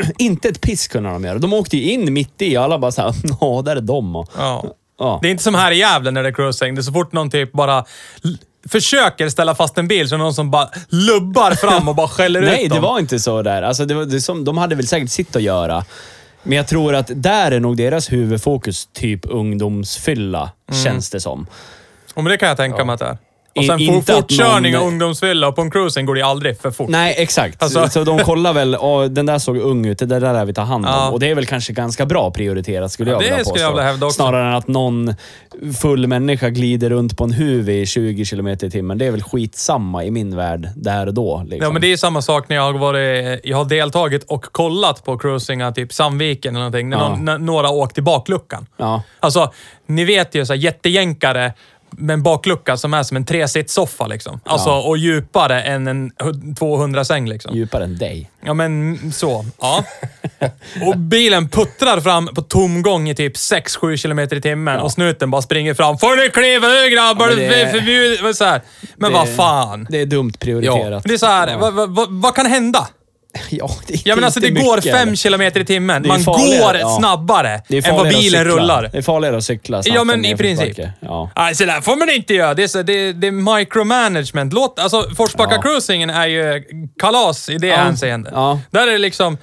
Speaker 3: inte ett piss kunde de göra. De åkte ju in mitt i och alla bara såhär, ja, där är de. Och,
Speaker 1: Ja.
Speaker 3: ja.
Speaker 1: Det är inte som här i Gävle när det är cruising. Det är så fort någon typ bara l- försöker ställa fast en bil så är det någon som bara lubbar fram och bara skäller ut
Speaker 3: Nej, det
Speaker 1: dem.
Speaker 3: var inte så där. Alltså, det var, det är som, de hade väl säkert sitt att göra. Men jag tror att där är nog deras huvudfokus typ ungdomsfylla,
Speaker 1: Mm.
Speaker 3: känns det som.
Speaker 1: Ja, men det kan jag tänka mig att det är. Och
Speaker 3: I-
Speaker 1: sen for,
Speaker 3: inte att
Speaker 1: fortkörning
Speaker 3: någon-
Speaker 1: och ungdomsfylla och på en cruising går det aldrig för fort.
Speaker 3: Nej, exakt.
Speaker 1: Alltså-
Speaker 3: Så de kollar väl, "Åh, den där såg ung ut, det där lär vi ta hand om.
Speaker 1: Ja.
Speaker 3: Och det är väl kanske ganska bra prioriterat skulle jag
Speaker 1: det
Speaker 3: vilja
Speaker 1: skulle
Speaker 3: påstå.
Speaker 1: jag vilja hävda också.
Speaker 3: Snarare än att någon full människa glider runt på en huv i 20 kilometer i timmen. Det är väl skitsamma i min värld där och då. Liksom.
Speaker 1: Ja, men det är samma sak när jag har, varit, jag har deltagit och kollat på cruisingar, typ Sandviken eller någonting, när,
Speaker 3: Ja.
Speaker 1: någon, när några åkt i bakluckan.
Speaker 3: Ja.
Speaker 1: Alltså, ni vet ju så här, jättejänkare med en baklucka som är som en tresitssoffa liksom. Alltså,
Speaker 3: Ja.
Speaker 1: och djupare än en 200-säng liksom.
Speaker 3: Djupare än dig.
Speaker 1: Ja, men så. Ja. Och bilen puttrar fram på tomgång i typ 6-7 kilometer i timmen och snuten bara springer fram. Får ni kliva ur grabbar?
Speaker 3: Ja,
Speaker 1: Ja,
Speaker 3: men
Speaker 1: men
Speaker 3: det-
Speaker 1: förbjud... Så här. Men
Speaker 3: det-
Speaker 1: vad fan.
Speaker 3: Det är dumt prioriterat.
Speaker 1: Det är så här, vad, vad, vad, vad kan hända?
Speaker 3: Ja, det är
Speaker 1: Ja, men
Speaker 3: inte
Speaker 1: alltså det
Speaker 3: mycket,
Speaker 1: går
Speaker 3: eller?
Speaker 1: 5 kilometer i timmen.
Speaker 3: Det är
Speaker 1: Man
Speaker 3: farligare,
Speaker 1: går
Speaker 3: ja.
Speaker 1: snabbare
Speaker 3: Det är
Speaker 1: än vad
Speaker 3: farligare att
Speaker 1: bilen
Speaker 3: cykla.
Speaker 1: rullar.
Speaker 3: Det är farligare att cykla snabbt
Speaker 1: Ja, men
Speaker 3: än
Speaker 1: i
Speaker 3: nedförsbacke.
Speaker 1: princip.
Speaker 3: Ja.
Speaker 1: Nej, så där får man inte göra. Det är, så, det, det är micromanagement. Låt, alltså, Forsbacka
Speaker 3: Ja.
Speaker 1: cruisingen är ju kalas i det hänseendet.
Speaker 3: Ja.
Speaker 1: Där är det liksom...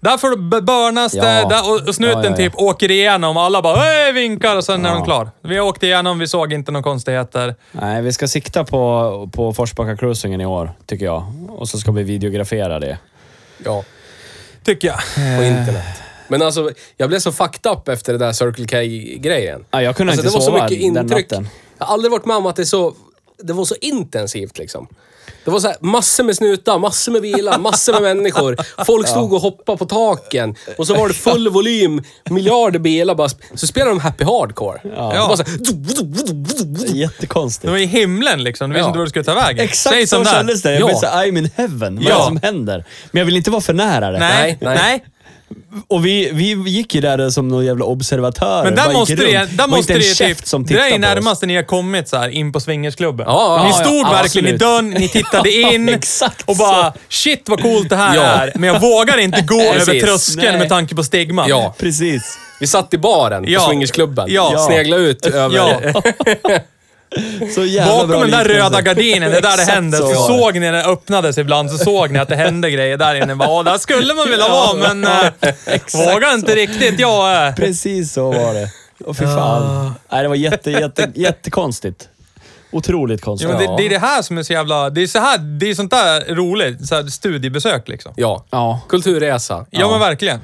Speaker 1: Där får du börnas
Speaker 3: Ja.
Speaker 1: det där, och, och snuten
Speaker 3: Ja, ja, ja.
Speaker 1: typ åker igenom och alla bara "Hej", vinkar och sen är de
Speaker 3: Ja.
Speaker 1: klar. Vi åkte igenom, vi såg inte några konstigheter.
Speaker 3: Nej, vi ska sikta på, på Forsbacka cruisingen i år, tycker jag. Och så ska vi videografera det.
Speaker 2: Ja.
Speaker 1: tycker jag. Eh.
Speaker 2: på internet. Men alltså, jag blev så fucked up efter det där Circle K-grejen.
Speaker 3: Ja, jag kunde
Speaker 2: alltså,
Speaker 3: inte
Speaker 2: det var så
Speaker 3: sova
Speaker 2: mycket
Speaker 3: den
Speaker 2: intryck.
Speaker 3: natten.
Speaker 2: Jag har aldrig varit med om att det, är så, det var så intensivt liksom. Det var så här, massor med snutar, massor med bilar, massor med människor. Folk stod och hoppade på taken. Och så var det full volym, miljarder bilar bara. sp- Så spelade de Happy Hardcore. Det var så här,
Speaker 1: Det
Speaker 4: Jättekonstigt.
Speaker 1: var i himlen liksom. Du visste
Speaker 2: Ja.
Speaker 1: inte vart du skulle ta vägen.
Speaker 4: Exakt
Speaker 1: Säg som
Speaker 4: så
Speaker 1: det är.
Speaker 4: kändes det. Jag
Speaker 2: Ja.
Speaker 4: blev såhär, I'm in heaven. Vad
Speaker 1: Ja.
Speaker 4: är det som händer? Men jag vill inte vara för nära det.
Speaker 1: Nej, nej.
Speaker 2: Nej, nej.
Speaker 4: Och vi, vi gick ju där som någon jävla observatörer.
Speaker 1: Men
Speaker 4: Bara
Speaker 1: där
Speaker 4: gick
Speaker 1: måste
Speaker 4: runt.
Speaker 1: det,
Speaker 4: var
Speaker 1: där
Speaker 4: inte
Speaker 1: måste det
Speaker 4: en
Speaker 1: typ...
Speaker 4: chef som
Speaker 1: det
Speaker 4: tittade
Speaker 1: är
Speaker 4: på oss.
Speaker 1: närmaste ni har kommit så här in på swingersklubben.
Speaker 2: Ja, ja,
Speaker 1: ni
Speaker 2: ja,
Speaker 1: stod
Speaker 2: ja,
Speaker 1: verkligen i
Speaker 2: absolut.
Speaker 1: dörren, ni tittade in
Speaker 4: exakt
Speaker 1: och bara shit vad coolt det här
Speaker 2: Ja.
Speaker 1: är. Men jag vågar inte gå
Speaker 2: Precis.
Speaker 1: över tröskeln
Speaker 4: Nej.
Speaker 1: med tanke på stigman.
Speaker 2: Ja.
Speaker 4: Precis.
Speaker 2: Vi satt i baren
Speaker 1: Ja.
Speaker 2: på swingersklubben.
Speaker 1: Ja.
Speaker 2: Sneglade ut över...
Speaker 1: Ja.
Speaker 4: Så jävla bra
Speaker 1: Bakom den där
Speaker 4: liknelse.
Speaker 1: röda gardinen, det är där det
Speaker 4: Exakt
Speaker 1: hände. Så
Speaker 4: var det.
Speaker 1: såg ni när den öppnades ibland, så såg ni att det hände grejer där inne. Bara, "Åh, där skulle man vilja vara, men äh, vågar inte riktigt jag. Äh.
Speaker 4: Precis så var det. Och fy fan. Nej, det var jätte, jätte, jättekonstigt. Otroligt konstigt.
Speaker 1: Jo, men det, det är det här som är så jävla... Det är, så här, det är sånt där roligt. Så här studiebesök liksom.
Speaker 2: Ja.
Speaker 3: Ja.
Speaker 2: Kulturresa.
Speaker 1: Ja, men verkligen.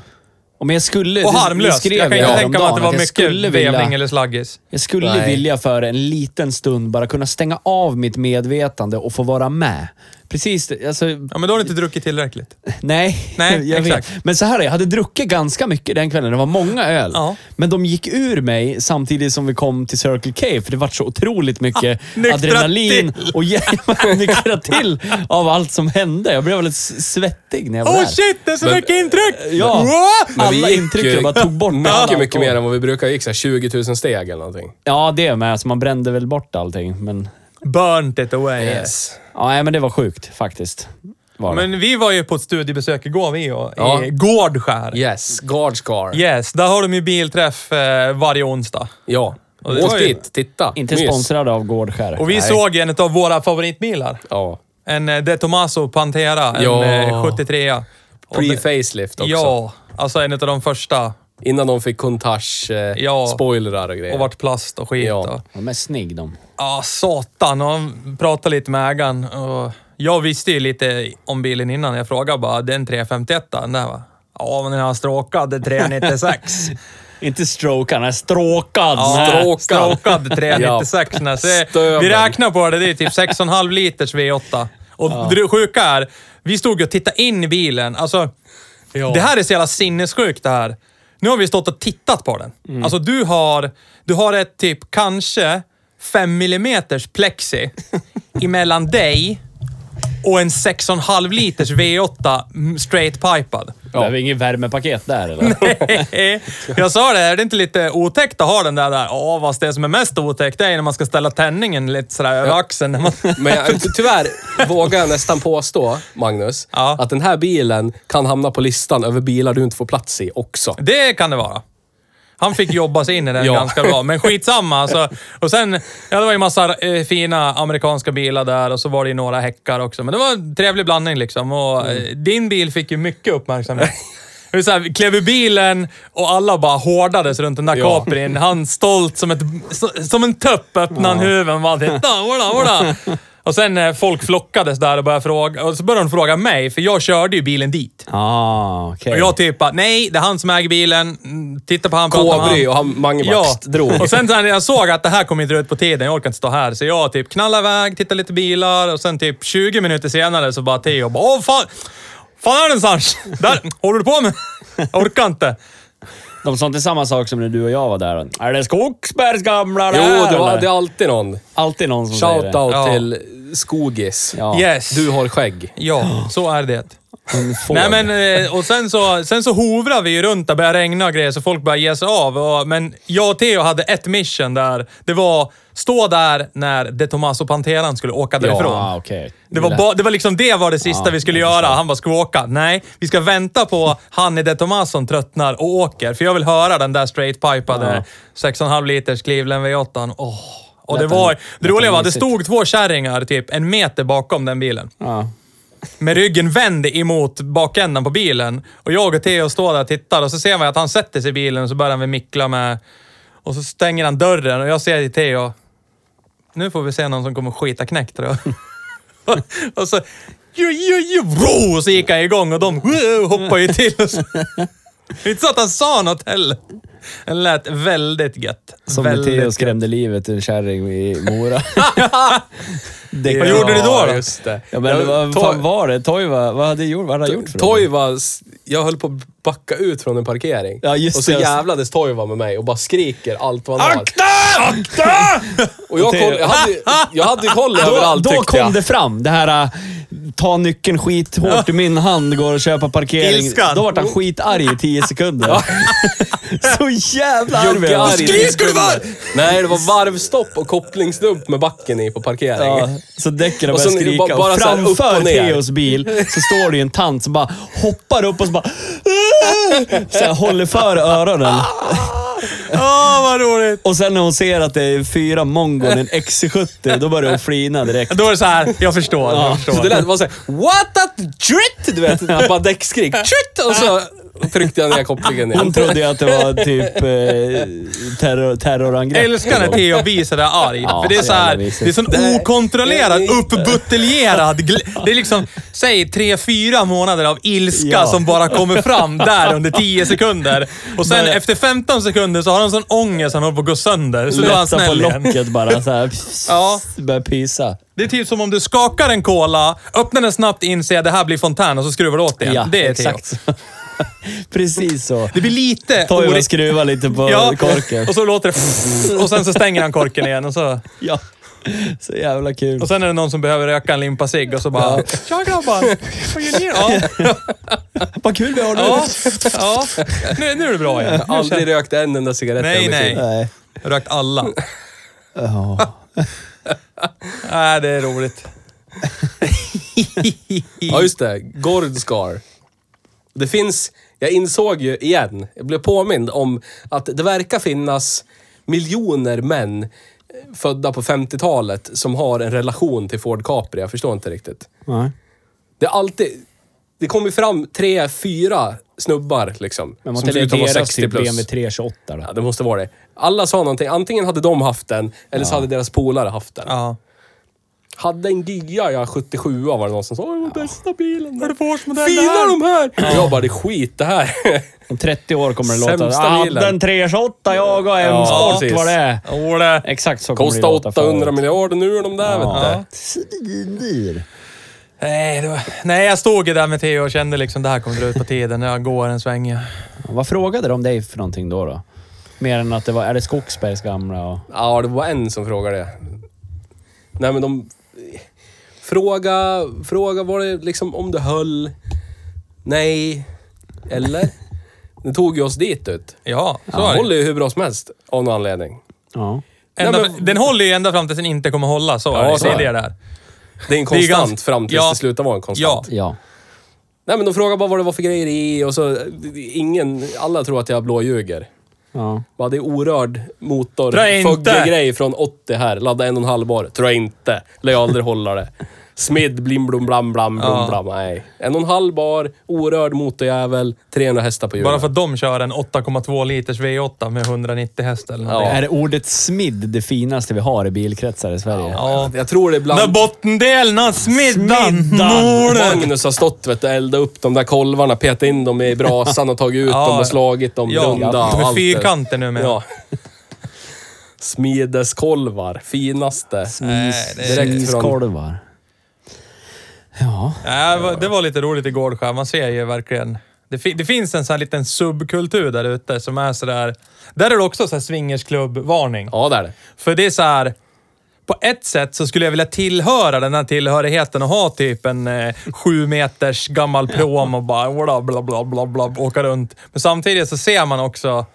Speaker 3: Och men jag skulle...
Speaker 1: Och
Speaker 3: det- det
Speaker 1: harmlöst.
Speaker 3: skrev
Speaker 1: Jag kan inte tänka mig
Speaker 3: häromdagen
Speaker 1: att det var
Speaker 3: jag skulle
Speaker 1: mycket
Speaker 3: vilja-
Speaker 1: vevning eller slaggis.
Speaker 3: Jag skulle
Speaker 2: Nej.
Speaker 3: vilja för en liten stund bara kunna stänga av mitt medvetande och få vara med. Precis, det- alltså...
Speaker 1: Ja, men då har du inte druckit tillräckligt.
Speaker 3: Nej,
Speaker 1: Nej,
Speaker 3: jag
Speaker 1: exakt.
Speaker 3: vet. Men så här, är det, jag hade druckit ganska mycket den kvällen. Det var många öl.
Speaker 1: Ja.
Speaker 3: Men de gick ur mig samtidigt som vi kom till Circle K, för det var så otroligt mycket
Speaker 1: Ah, nyktra
Speaker 3: adrenalin och hjärnan nyktra till av allt som hände. Jag blev väldigt s- svettig när jag var
Speaker 1: Oh
Speaker 3: där.
Speaker 1: shit, det är så
Speaker 2: Men-
Speaker 1: mycket intryck!
Speaker 3: Ja.
Speaker 1: Wow!
Speaker 2: Men vi
Speaker 3: Alla
Speaker 2: gick
Speaker 3: intryck
Speaker 2: ju
Speaker 3: jag bara tog bort.
Speaker 2: Mycket, mycket mer än vad vi brukar. Vi gick så här 20 000 steg eller någonting.
Speaker 3: Ja, det med. Alltså, man brände väl bort allting, men...
Speaker 1: Burnt it away.
Speaker 2: Eh,
Speaker 3: Ja, nej, men det var sjukt faktiskt. Var det.
Speaker 1: Men vi var ju på ett studiebesök igår vi och,
Speaker 2: Ja.
Speaker 1: i Gårdskär.
Speaker 2: Yes. Guardscar.
Speaker 1: Yes, där har de ju bilträff eh, varje onsdag.
Speaker 2: Ja.
Speaker 1: Och det var
Speaker 2: Åk
Speaker 1: ju-
Speaker 2: dit, titta.
Speaker 3: Inte
Speaker 2: Mys.
Speaker 3: sponsrade av Gårdskär.
Speaker 1: Och vi såg en av våra favoritbilar.
Speaker 2: Ja.
Speaker 1: En eh, De Tomaso Pantera, en
Speaker 2: Ja.
Speaker 1: eh, 73
Speaker 2: Pre-facelift också.
Speaker 1: Ja, alltså en av de första.
Speaker 2: Innan de fick kontage, eh,
Speaker 1: Ja.
Speaker 2: spoilrar och grejer.
Speaker 1: Och vart plast och skit.
Speaker 2: Ja.
Speaker 1: Och,
Speaker 3: De är snygg de.
Speaker 1: Ja, satan. Och han pratade lite med ägaren. Och jag visste ju lite om bilen innan. Jag frågade bara, den 351 den där va? Ja, men den har stråkad 396.
Speaker 3: Inte strokad, nej stråkad.
Speaker 1: Ja,
Speaker 2: Stråkad.
Speaker 1: stråkad 396. ja. Så
Speaker 2: Stövel.
Speaker 1: vi räknar på det, det är typ 6,5 liters V8. Och det sjuka är, vi stod ju och tittade in i bilen. Alltså, det här är så jävla sinnessjukt det här. Nu har vi stått och tittat på den. Alltså du har, du har ett typ kanske 5 mm plexi emellan dig och en 6,5 liters V8 mm, straight pipad.
Speaker 3: Det är inget värmepaket där eller?
Speaker 1: Jag sa det, är det inte lite otäckt att ha den där? där? Ja, fast det som är mest otäckt är när man ska ställa tändningen lite sådär över axeln. När man...
Speaker 2: Men jag, tyvärr vågar jag nästan påstå, Magnus,
Speaker 1: Ja.
Speaker 2: att den här bilen kan hamna på listan över bilar du inte får plats i också.
Speaker 1: Det kan det vara. Han fick jobba sig in i den
Speaker 2: Ja.
Speaker 1: ganska bra, men skitsamma. Alltså. Och sen, ja, det var ju massa eh, fina amerikanska bilar där och så var det ju några häckar också. Men det var en trevlig blandning liksom. Och, eh,
Speaker 2: Mm.
Speaker 1: Din bil fick ju mycket uppmärksamhet. Det var så här, vi klev ur bilen och alla bara hårdades runt den där
Speaker 2: Ja.
Speaker 1: Caprin. Han stolt som, ett, som en tupp öppnade han huven och bara “Titta, orda, orda!” Och sen eh, folk flockades där och började fråga. Och så började de fråga mig, för jag körde ju bilen dit.
Speaker 3: ah, okej.
Speaker 1: Och jag typ bara, nej, det är han som äger bilen. Mm, Titta på han, prata med
Speaker 2: Kobry
Speaker 1: han.
Speaker 2: och han, Mange bara,
Speaker 1: Ja,
Speaker 2: pst, drog.
Speaker 1: och sen när jag såg att det här kommer inte dra ut på tiden, jag orkar inte stå här. Så jag typ knallade iväg, tittade lite bilar och sen typ 20 minuter senare så bara Theo bara, åh fan, fan är den Sanch? Där, håller du på med? Jag orkar inte.
Speaker 3: De sa inte samma sak som när du och jag var där. Är det Skogsbergs gamla
Speaker 2: Jo,
Speaker 3: där,
Speaker 2: det, var,
Speaker 3: eller?"
Speaker 2: det är alltid någon.
Speaker 3: Alltid någon som säger det.
Speaker 2: Shoutout
Speaker 1: Ja.
Speaker 2: till Skogis.
Speaker 3: Ja.
Speaker 1: Yes.
Speaker 2: Du har skägg.
Speaker 1: Ja, så är det.
Speaker 3: En Ford.
Speaker 1: Nej men, eh, och sen så, sen så hovrar vi ju runt, det började regna och grejer, så folk började ge sig av. Och, men jag och Theo hade ett mission där. Det var, stå där när De Tomaso Panteran skulle åka därifrån.
Speaker 3: ah, okej.
Speaker 1: Det var, ba, det var liksom det var det sista vi skulle göra. Han bara, ska vi åka? Nej, vi ska vänta på han i det Tomasson tröttnar och åker. För jag vill höra den där straight pipade 6,5 liters Cleveland V8. Åh. Och det
Speaker 3: Lät
Speaker 1: var,
Speaker 3: den-
Speaker 1: det
Speaker 3: lät
Speaker 1: roliga
Speaker 3: den
Speaker 1: var att det
Speaker 3: mysigt.
Speaker 1: stod två kärringar typ en meter bakom den bilen.
Speaker 3: Ja.
Speaker 1: Med ryggen vänd emot bakändan på bilen. Och jag och Theo står där och tittar och så ser man att han sätter sig i bilen och så börjar han väl mickla med... Och så stänger han dörren och jag ser till Theo. Nu får vi se någon som kommer skita knäckt tror jag. och så... ju, ju, ju, bro! Och så gick han igång och de wow, hoppade ju till. Och så. Det är inte så att han sa något heller. Det lät väldigt gött.
Speaker 3: Som när
Speaker 1: väldigt
Speaker 3: Theo
Speaker 1: gött.
Speaker 3: skrämde livet ur en kärring i Mora.
Speaker 1: Vad gjorde ni då? då?
Speaker 2: Just det.
Speaker 3: Ja, men vad
Speaker 2: Toy-
Speaker 3: fan var det? Toiva? Vad hade, gjort, vad hade han gjort för något?
Speaker 2: Toiva, jag höll på att backa ut från en parkering.
Speaker 3: Ja, just
Speaker 2: och så
Speaker 3: det.
Speaker 2: jävlades Toiva med mig och bara skriker allt vad han har.
Speaker 1: Akta! Akta!
Speaker 2: Och jag, koll, jag, hade, jag hade koll överallt
Speaker 3: Då
Speaker 2: tyckte
Speaker 3: kom
Speaker 2: jag.
Speaker 3: det fram. Det här äh, ta nyckeln skithårt i min hand, går och köpa parkering.
Speaker 1: Ilskan.
Speaker 3: Då vart han skitarg i tio sekunder. Så jävla arg.
Speaker 2: Jogge
Speaker 3: var han.
Speaker 2: arg i
Speaker 1: Skrik skulle det
Speaker 2: sekunder.
Speaker 1: vara!
Speaker 2: Nej, det var varvstopp och kopplingsdump med backen i på parkeringen.
Speaker 3: Ja, så däcken har
Speaker 2: Och så
Speaker 3: börjat
Speaker 2: nu
Speaker 3: skrika.
Speaker 2: bara- bara
Speaker 3: och
Speaker 2: så här upp och
Speaker 3: framför
Speaker 2: ner.
Speaker 3: Theos bil så står det ju en tant som bara hoppar upp och så bara... Så här, håller för öronen.
Speaker 1: Åh, vad roligt!
Speaker 3: Och sen när hon ser att det är fyra mongon i en XC70, då börjar hon flina direkt.
Speaker 1: Då är det så här, jag förstår. jag
Speaker 2: Så
Speaker 1: förstår.
Speaker 2: det lät bara såhär, what a tritt! Du vet, bara däckskrik. Tritt! Och så tryckte jag ner kopplingen
Speaker 3: Hon
Speaker 2: igen.
Speaker 3: trodde ju att det var typ eh, terror, terrorangrepp.
Speaker 1: Jag älskar när Theo blir sådär arg.
Speaker 3: Ja,
Speaker 1: för det är så här,
Speaker 3: jävla
Speaker 1: det
Speaker 3: mysigt.
Speaker 1: är sån okontrollerad, uppbuteljerad... gl- Det är liksom, säg tre, fyra månader av ilska
Speaker 3: Ja.
Speaker 1: som bara kommer fram där under 10 sekunder. Och sen efter 15 sekunder så har han sån ångest han håller på att gå sönder. Så då är han
Speaker 3: Lättar på
Speaker 1: snäll igen.
Speaker 3: locket bara så här.
Speaker 1: Ja.
Speaker 3: Börjar pysa.
Speaker 1: Det är typ som om du skakar en cola, öppnar den snabbt, inser att det här blir fontän och så skruvar du åt det igen. det är Theo.
Speaker 3: exakt. Precis så.
Speaker 1: Det blir lite
Speaker 3: Toivo
Speaker 1: orik-
Speaker 3: och skruvar lite på korken.
Speaker 1: och så låter det och sen så stänger han korken igen och så...
Speaker 3: Ja. Så jävla kul.
Speaker 1: Och sen är det någon som behöver röka en limpa cigg och så bara “Tja grabbar, vad gör ni?” ja,
Speaker 3: Vad kul vi har nu.
Speaker 1: ja, ja. Nu, nu är det bra igen. Nu känner-
Speaker 2: Aldrig rökt en enda cigarett
Speaker 1: Nej,
Speaker 2: i mitt
Speaker 1: nej.
Speaker 2: liv.
Speaker 3: Nej.
Speaker 1: Rökt alla.
Speaker 3: Ja.
Speaker 1: Nej, det är roligt.
Speaker 2: Ja, just det. Gordscar. Det finns... Jag insåg ju igen, jag blev påmind om att det verkar finnas miljoner män eh, födda på 50-talet som har en relation till Ford Capri. Jag förstår inte riktigt.
Speaker 3: Nej.
Speaker 2: Det är alltid... Det kommer fram tre, fyra snubbar liksom.
Speaker 3: Men var inte det
Speaker 2: ut att vara
Speaker 3: deras typ BMW 328 då?
Speaker 2: Ja, det måste vara det. Alla sa någonting. Antingen hade de haft den, eller så hade deras polare haft den.
Speaker 1: Ja.
Speaker 2: Hade en Gia, jag 77 var det någon som sa. Åh, den bästa bilen.
Speaker 1: Är det Ford-modell
Speaker 2: Fina
Speaker 1: där?
Speaker 2: de här! Jag bara, det är skit det här.
Speaker 3: Om 30 år kommer det låta.
Speaker 2: Sämsta
Speaker 3: Ah,
Speaker 2: bilen."
Speaker 3: den 328 jag och en
Speaker 2: Ja,
Speaker 3: sport
Speaker 2: precis.
Speaker 3: var det är.
Speaker 1: Ole.
Speaker 3: Exakt så kommer det
Speaker 2: Kostar
Speaker 3: låta.
Speaker 2: 800 miljarder nu är de där vet
Speaker 3: Svindyr.
Speaker 1: Nej, det var... Nej, jag stod ju där med Theo och kände liksom det här kommer dra ut på tiden. Jag går en sväng.
Speaker 3: Vad frågade de dig för någonting då? då? Mer än att det var, är det Skogsbergs gamla och...
Speaker 2: du. Ja, det var en som frågade det. Nej men de... Fråga, fråga var det liksom om det höll? Nej. Eller? Det tog ju oss dit ut.
Speaker 1: Ja, så
Speaker 2: Den
Speaker 1: är det.
Speaker 2: håller ju hur bra som helst, av någon anledning.
Speaker 3: Ja.
Speaker 1: Ända,
Speaker 2: Nej, men-
Speaker 1: Den håller ju ända fram tills den inte kommer hålla. Så
Speaker 2: Ja,
Speaker 1: är det.
Speaker 2: så
Speaker 1: det
Speaker 2: är
Speaker 1: är det
Speaker 2: det.
Speaker 1: där.
Speaker 2: Det är en
Speaker 1: Det är
Speaker 2: konstant
Speaker 1: ganska-
Speaker 2: fram tills
Speaker 1: Ja.
Speaker 2: det slutar vara en
Speaker 1: Ja.
Speaker 2: konstant.
Speaker 3: Ja.
Speaker 2: Nej men de frågar bara vad det var för grejer i och så... Ingen... Alla tror att jag blåljuger.
Speaker 3: ja.
Speaker 2: Bara, det är orörd motor.
Speaker 1: Tror jag inte.
Speaker 2: grej från 80 här. Ladda en och en halv bar. Tror jag inte. Lär jag aldrig hålla det. Smid, blim, blom, blam, blam, blom,
Speaker 1: Ja.
Speaker 2: blam. Nej. En och en halv bar, orörd motorjävel, 300 hästar på hjulen.
Speaker 1: Bara för att de kör en 8,2 liters V8 med 190 häst eller någonting.
Speaker 2: Ja.
Speaker 3: Är det ordet smidd det finaste vi har i bilkretsar i Sverige?
Speaker 1: Ja.
Speaker 2: Jag tror det är
Speaker 1: När
Speaker 2: bland...
Speaker 1: bottendelen av smiddan når
Speaker 2: Magnus har stått vet du, och eldat upp de där kolvarna, petat in dem i brasan och tagit ut
Speaker 1: Ja.
Speaker 2: dem och slagit dem
Speaker 1: Ja,
Speaker 2: runda
Speaker 1: de är
Speaker 2: och allt det.
Speaker 1: fyrkanter numera.
Speaker 2: Ja. Smideskolvar, finaste.
Speaker 1: Nej, det är-
Speaker 2: Direkt från...
Speaker 3: Smiskolvar. Ja.
Speaker 1: Nej, va- det var lite roligt i Gårdsjö. Man ser ju verkligen. Det, fi det finns en sån här liten subkultur där ute som är sådär... Där är det också så här swingersklubb-varning.
Speaker 2: Ja, där.
Speaker 1: För det är så här. På ett sätt så skulle jag vilja tillhöra den här tillhörigheten och ha typ en eh, sju meters gammal prom och bara bla, bla, bla, bla, bla, åka runt. Men samtidigt så ser man också...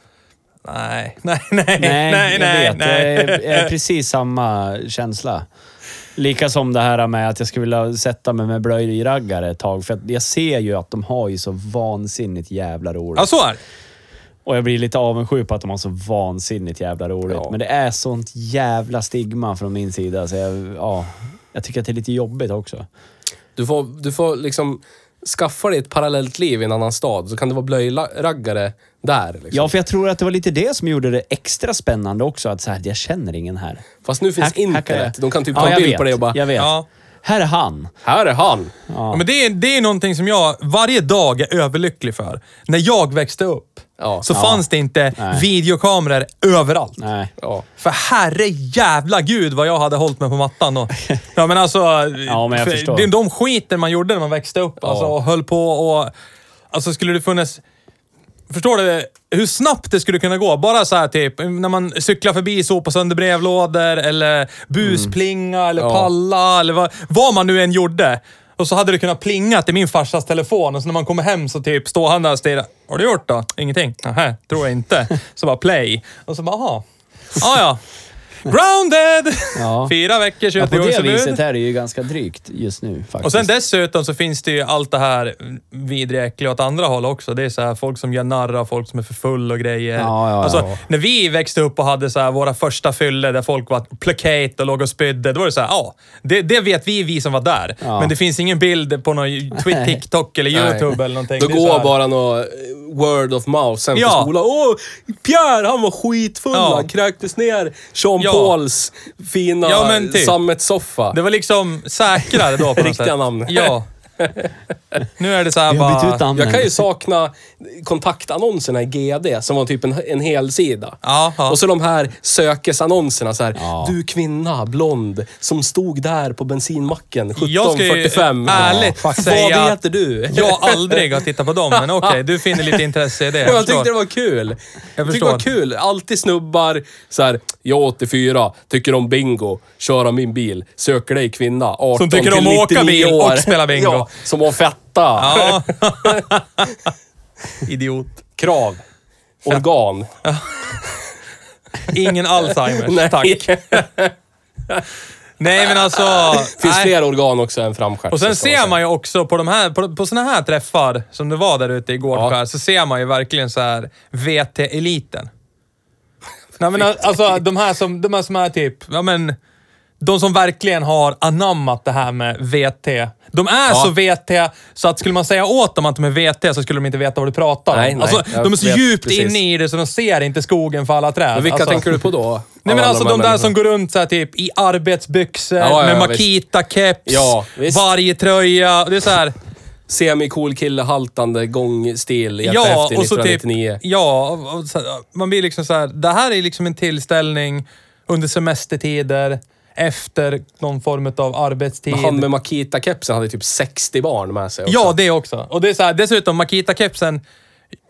Speaker 1: Nej, nej, nej,
Speaker 3: Nej,
Speaker 1: nej,
Speaker 3: jag
Speaker 1: nej.
Speaker 3: vet.
Speaker 1: nej.
Speaker 3: Jag är- jag är precis samma känsla. Lika som det här med att jag skulle vilja sätta mig med blöjor i raggare ett tag. För att jag ser ju att de har ju så vansinnigt jävla roligt.
Speaker 2: Alltså-
Speaker 1: Ja, så är det.
Speaker 3: Och jag blir lite avundsjuk på att de har så vansinnigt jävla roligt.
Speaker 2: Ja.
Speaker 3: Men det är sånt jävla stigma från min sida. Så jag, ja, jag tycker att det är lite jobbigt också.
Speaker 2: Du får, du får liksom skaffa dig ett parallellt liv i en annan stad, så kan du vara blöjraggare där. Liksom.
Speaker 3: Ja, för jag tror att det var lite det som gjorde det extra spännande också. Att så här, jag känner ingen här.
Speaker 2: Fast nu finns
Speaker 3: Hack- hackare.
Speaker 2: internet. Alltså, De kan typ
Speaker 3: Ja,
Speaker 2: ta en
Speaker 3: jag
Speaker 2: bild
Speaker 3: vet.
Speaker 2: på dig och bara...
Speaker 3: Jag vet.
Speaker 1: Ja.
Speaker 3: Här är han.
Speaker 2: Här är han!
Speaker 1: Ja, men det, är, det är någonting som jag varje dag är överlycklig för. När jag växte upp
Speaker 2: Ja.
Speaker 1: så fanns det inte videokameror överallt.
Speaker 3: Nej.
Speaker 2: Ja.
Speaker 1: För herre jävla gud vad jag hade hållit mig på mattan. Och, ja, men alltså,
Speaker 3: Ja, men jag
Speaker 1: för-
Speaker 3: förstår.
Speaker 1: det är de skiten man gjorde när man växte upp alltså, och höll på och... Alltså skulle det funnits... Förstår du hur snabbt det skulle kunna gå? Bara så här typ, när man cyklar förbi sopar sönder brevlådor eller busplinga
Speaker 3: Mm.
Speaker 1: eller palla eller vad, vad man nu än gjorde. Och så hade det kunnat plinga till min farsas telefon och så när man kommer hem så typ står han där och stirrar. Har du gjort då? Ingenting? Nähä, tror jag inte. Så bara play. Och så bara, aha. Ah, ja. Grounded!
Speaker 3: Ja.
Speaker 1: Fyra veckor,
Speaker 3: Ja, på det
Speaker 1: 21-årsförbud.
Speaker 3: viset är det ju ganska drygt just nu faktiskt.
Speaker 1: Och sen dessutom så finns det ju allt det här vidriga, äckliga åt andra håll också. Det är så här folk som gör narr av folk som är för full och grejer.
Speaker 3: Ja, ja,
Speaker 1: alltså,
Speaker 3: ja.
Speaker 1: när vi växte upp och hade så här våra första fyller där folk var placate och låg och spydde, då var det så här, ja, det, det vet vi, vi som var där.
Speaker 3: Ja.
Speaker 1: Men det finns ingen bild på någon Twi- TikTok eller YouTube eller någonting.
Speaker 2: Då
Speaker 1: Det är så
Speaker 2: går
Speaker 1: här-
Speaker 2: bara något word of mouth sen
Speaker 1: Ja.
Speaker 2: på skolan. Åh, Pierre han var skitfull.
Speaker 1: Ja.
Speaker 2: Han kräktes ner Sean
Speaker 1: Ja.
Speaker 2: Pauls fina
Speaker 1: Ja, men typ.
Speaker 2: sammetssoffa.
Speaker 1: Det var liksom säkrare då på något
Speaker 2: Riktiga
Speaker 1: sätt.
Speaker 2: namn.
Speaker 1: Ja. Nu är det så här
Speaker 3: Vi har bytt ut
Speaker 1: bara...
Speaker 3: namn.
Speaker 2: Jag kan ju sakna kontaktannonserna i GD som var typ en, en hel sida.
Speaker 1: Ja, ja.
Speaker 2: Och så de här sökesannonserna så här.
Speaker 3: Ja.
Speaker 2: Du kvinna, blond, som stod där på bensinmacken
Speaker 1: Jag ska ju
Speaker 2: 17.45.
Speaker 1: ärligt
Speaker 2: Vad
Speaker 1: säga-
Speaker 2: heter du?
Speaker 1: Jag aldrig har tittat på dem, men okej, du finner lite intresse i det.
Speaker 2: Jag,
Speaker 1: förstår.
Speaker 2: tyckte det var kul. Jag tyckte det
Speaker 1: förstår.
Speaker 2: var kul. Alltid snubbar så här, jag 84, tycker om bingo, köra min bil, söker dig kvinna, 18
Speaker 1: Som tycker om
Speaker 2: till
Speaker 1: att åka
Speaker 2: 99
Speaker 1: bil
Speaker 2: år.
Speaker 1: och spela bingo.
Speaker 2: Ja, som har fetta
Speaker 1: Ja. Idiot.
Speaker 2: krav, organ.
Speaker 1: Ingen Alzheimers,
Speaker 2: Nej.
Speaker 1: tack. Nej, men alltså...
Speaker 2: finns
Speaker 1: nej.
Speaker 2: fler organ också än framstjärt.
Speaker 1: Och sen ser man ju också på de här, på, på såna här träffar som det var där ute i Gårdskär, så ser man ju verkligen så här VT-eliten. Nej men alltså de här som, de här som är typ, ja men, de som verkligen har anammat det här med VT. De är så VT så att skulle man säga åt dem att de är VT så skulle de inte veta vad du pratar
Speaker 2: Nej,
Speaker 1: om.
Speaker 2: nej.
Speaker 1: Alltså,
Speaker 2: Jag
Speaker 1: de är så
Speaker 2: vet
Speaker 1: djupt
Speaker 2: precis.
Speaker 1: inne i det så de ser inte skogen för alla träd.
Speaker 2: Men vilka
Speaker 1: alltså,
Speaker 2: tänker du på då?
Speaker 1: Nej
Speaker 2: Av
Speaker 1: men
Speaker 2: alla
Speaker 1: alltså de
Speaker 2: här
Speaker 1: där som går runt så här, typ i arbetsbyxor,
Speaker 2: Ja, ja,
Speaker 1: med
Speaker 2: ja,
Speaker 1: Makita-keps,
Speaker 2: Ja, visst.
Speaker 1: varje tröja. Det är så här,
Speaker 2: Semi-cool kille, haltande, gångstil,
Speaker 1: ja,
Speaker 2: efter
Speaker 1: och så typ,
Speaker 2: 1999.
Speaker 1: ja, och, och, så här, man blir liksom så här, det här är liksom en tillställning under semestertider, efter någon form av arbetstid.
Speaker 2: Han med Makita-kepsen hade typ 60 barn med sig. också.
Speaker 1: Ja, det också. Och det är så här, dessutom Makita-kepsen.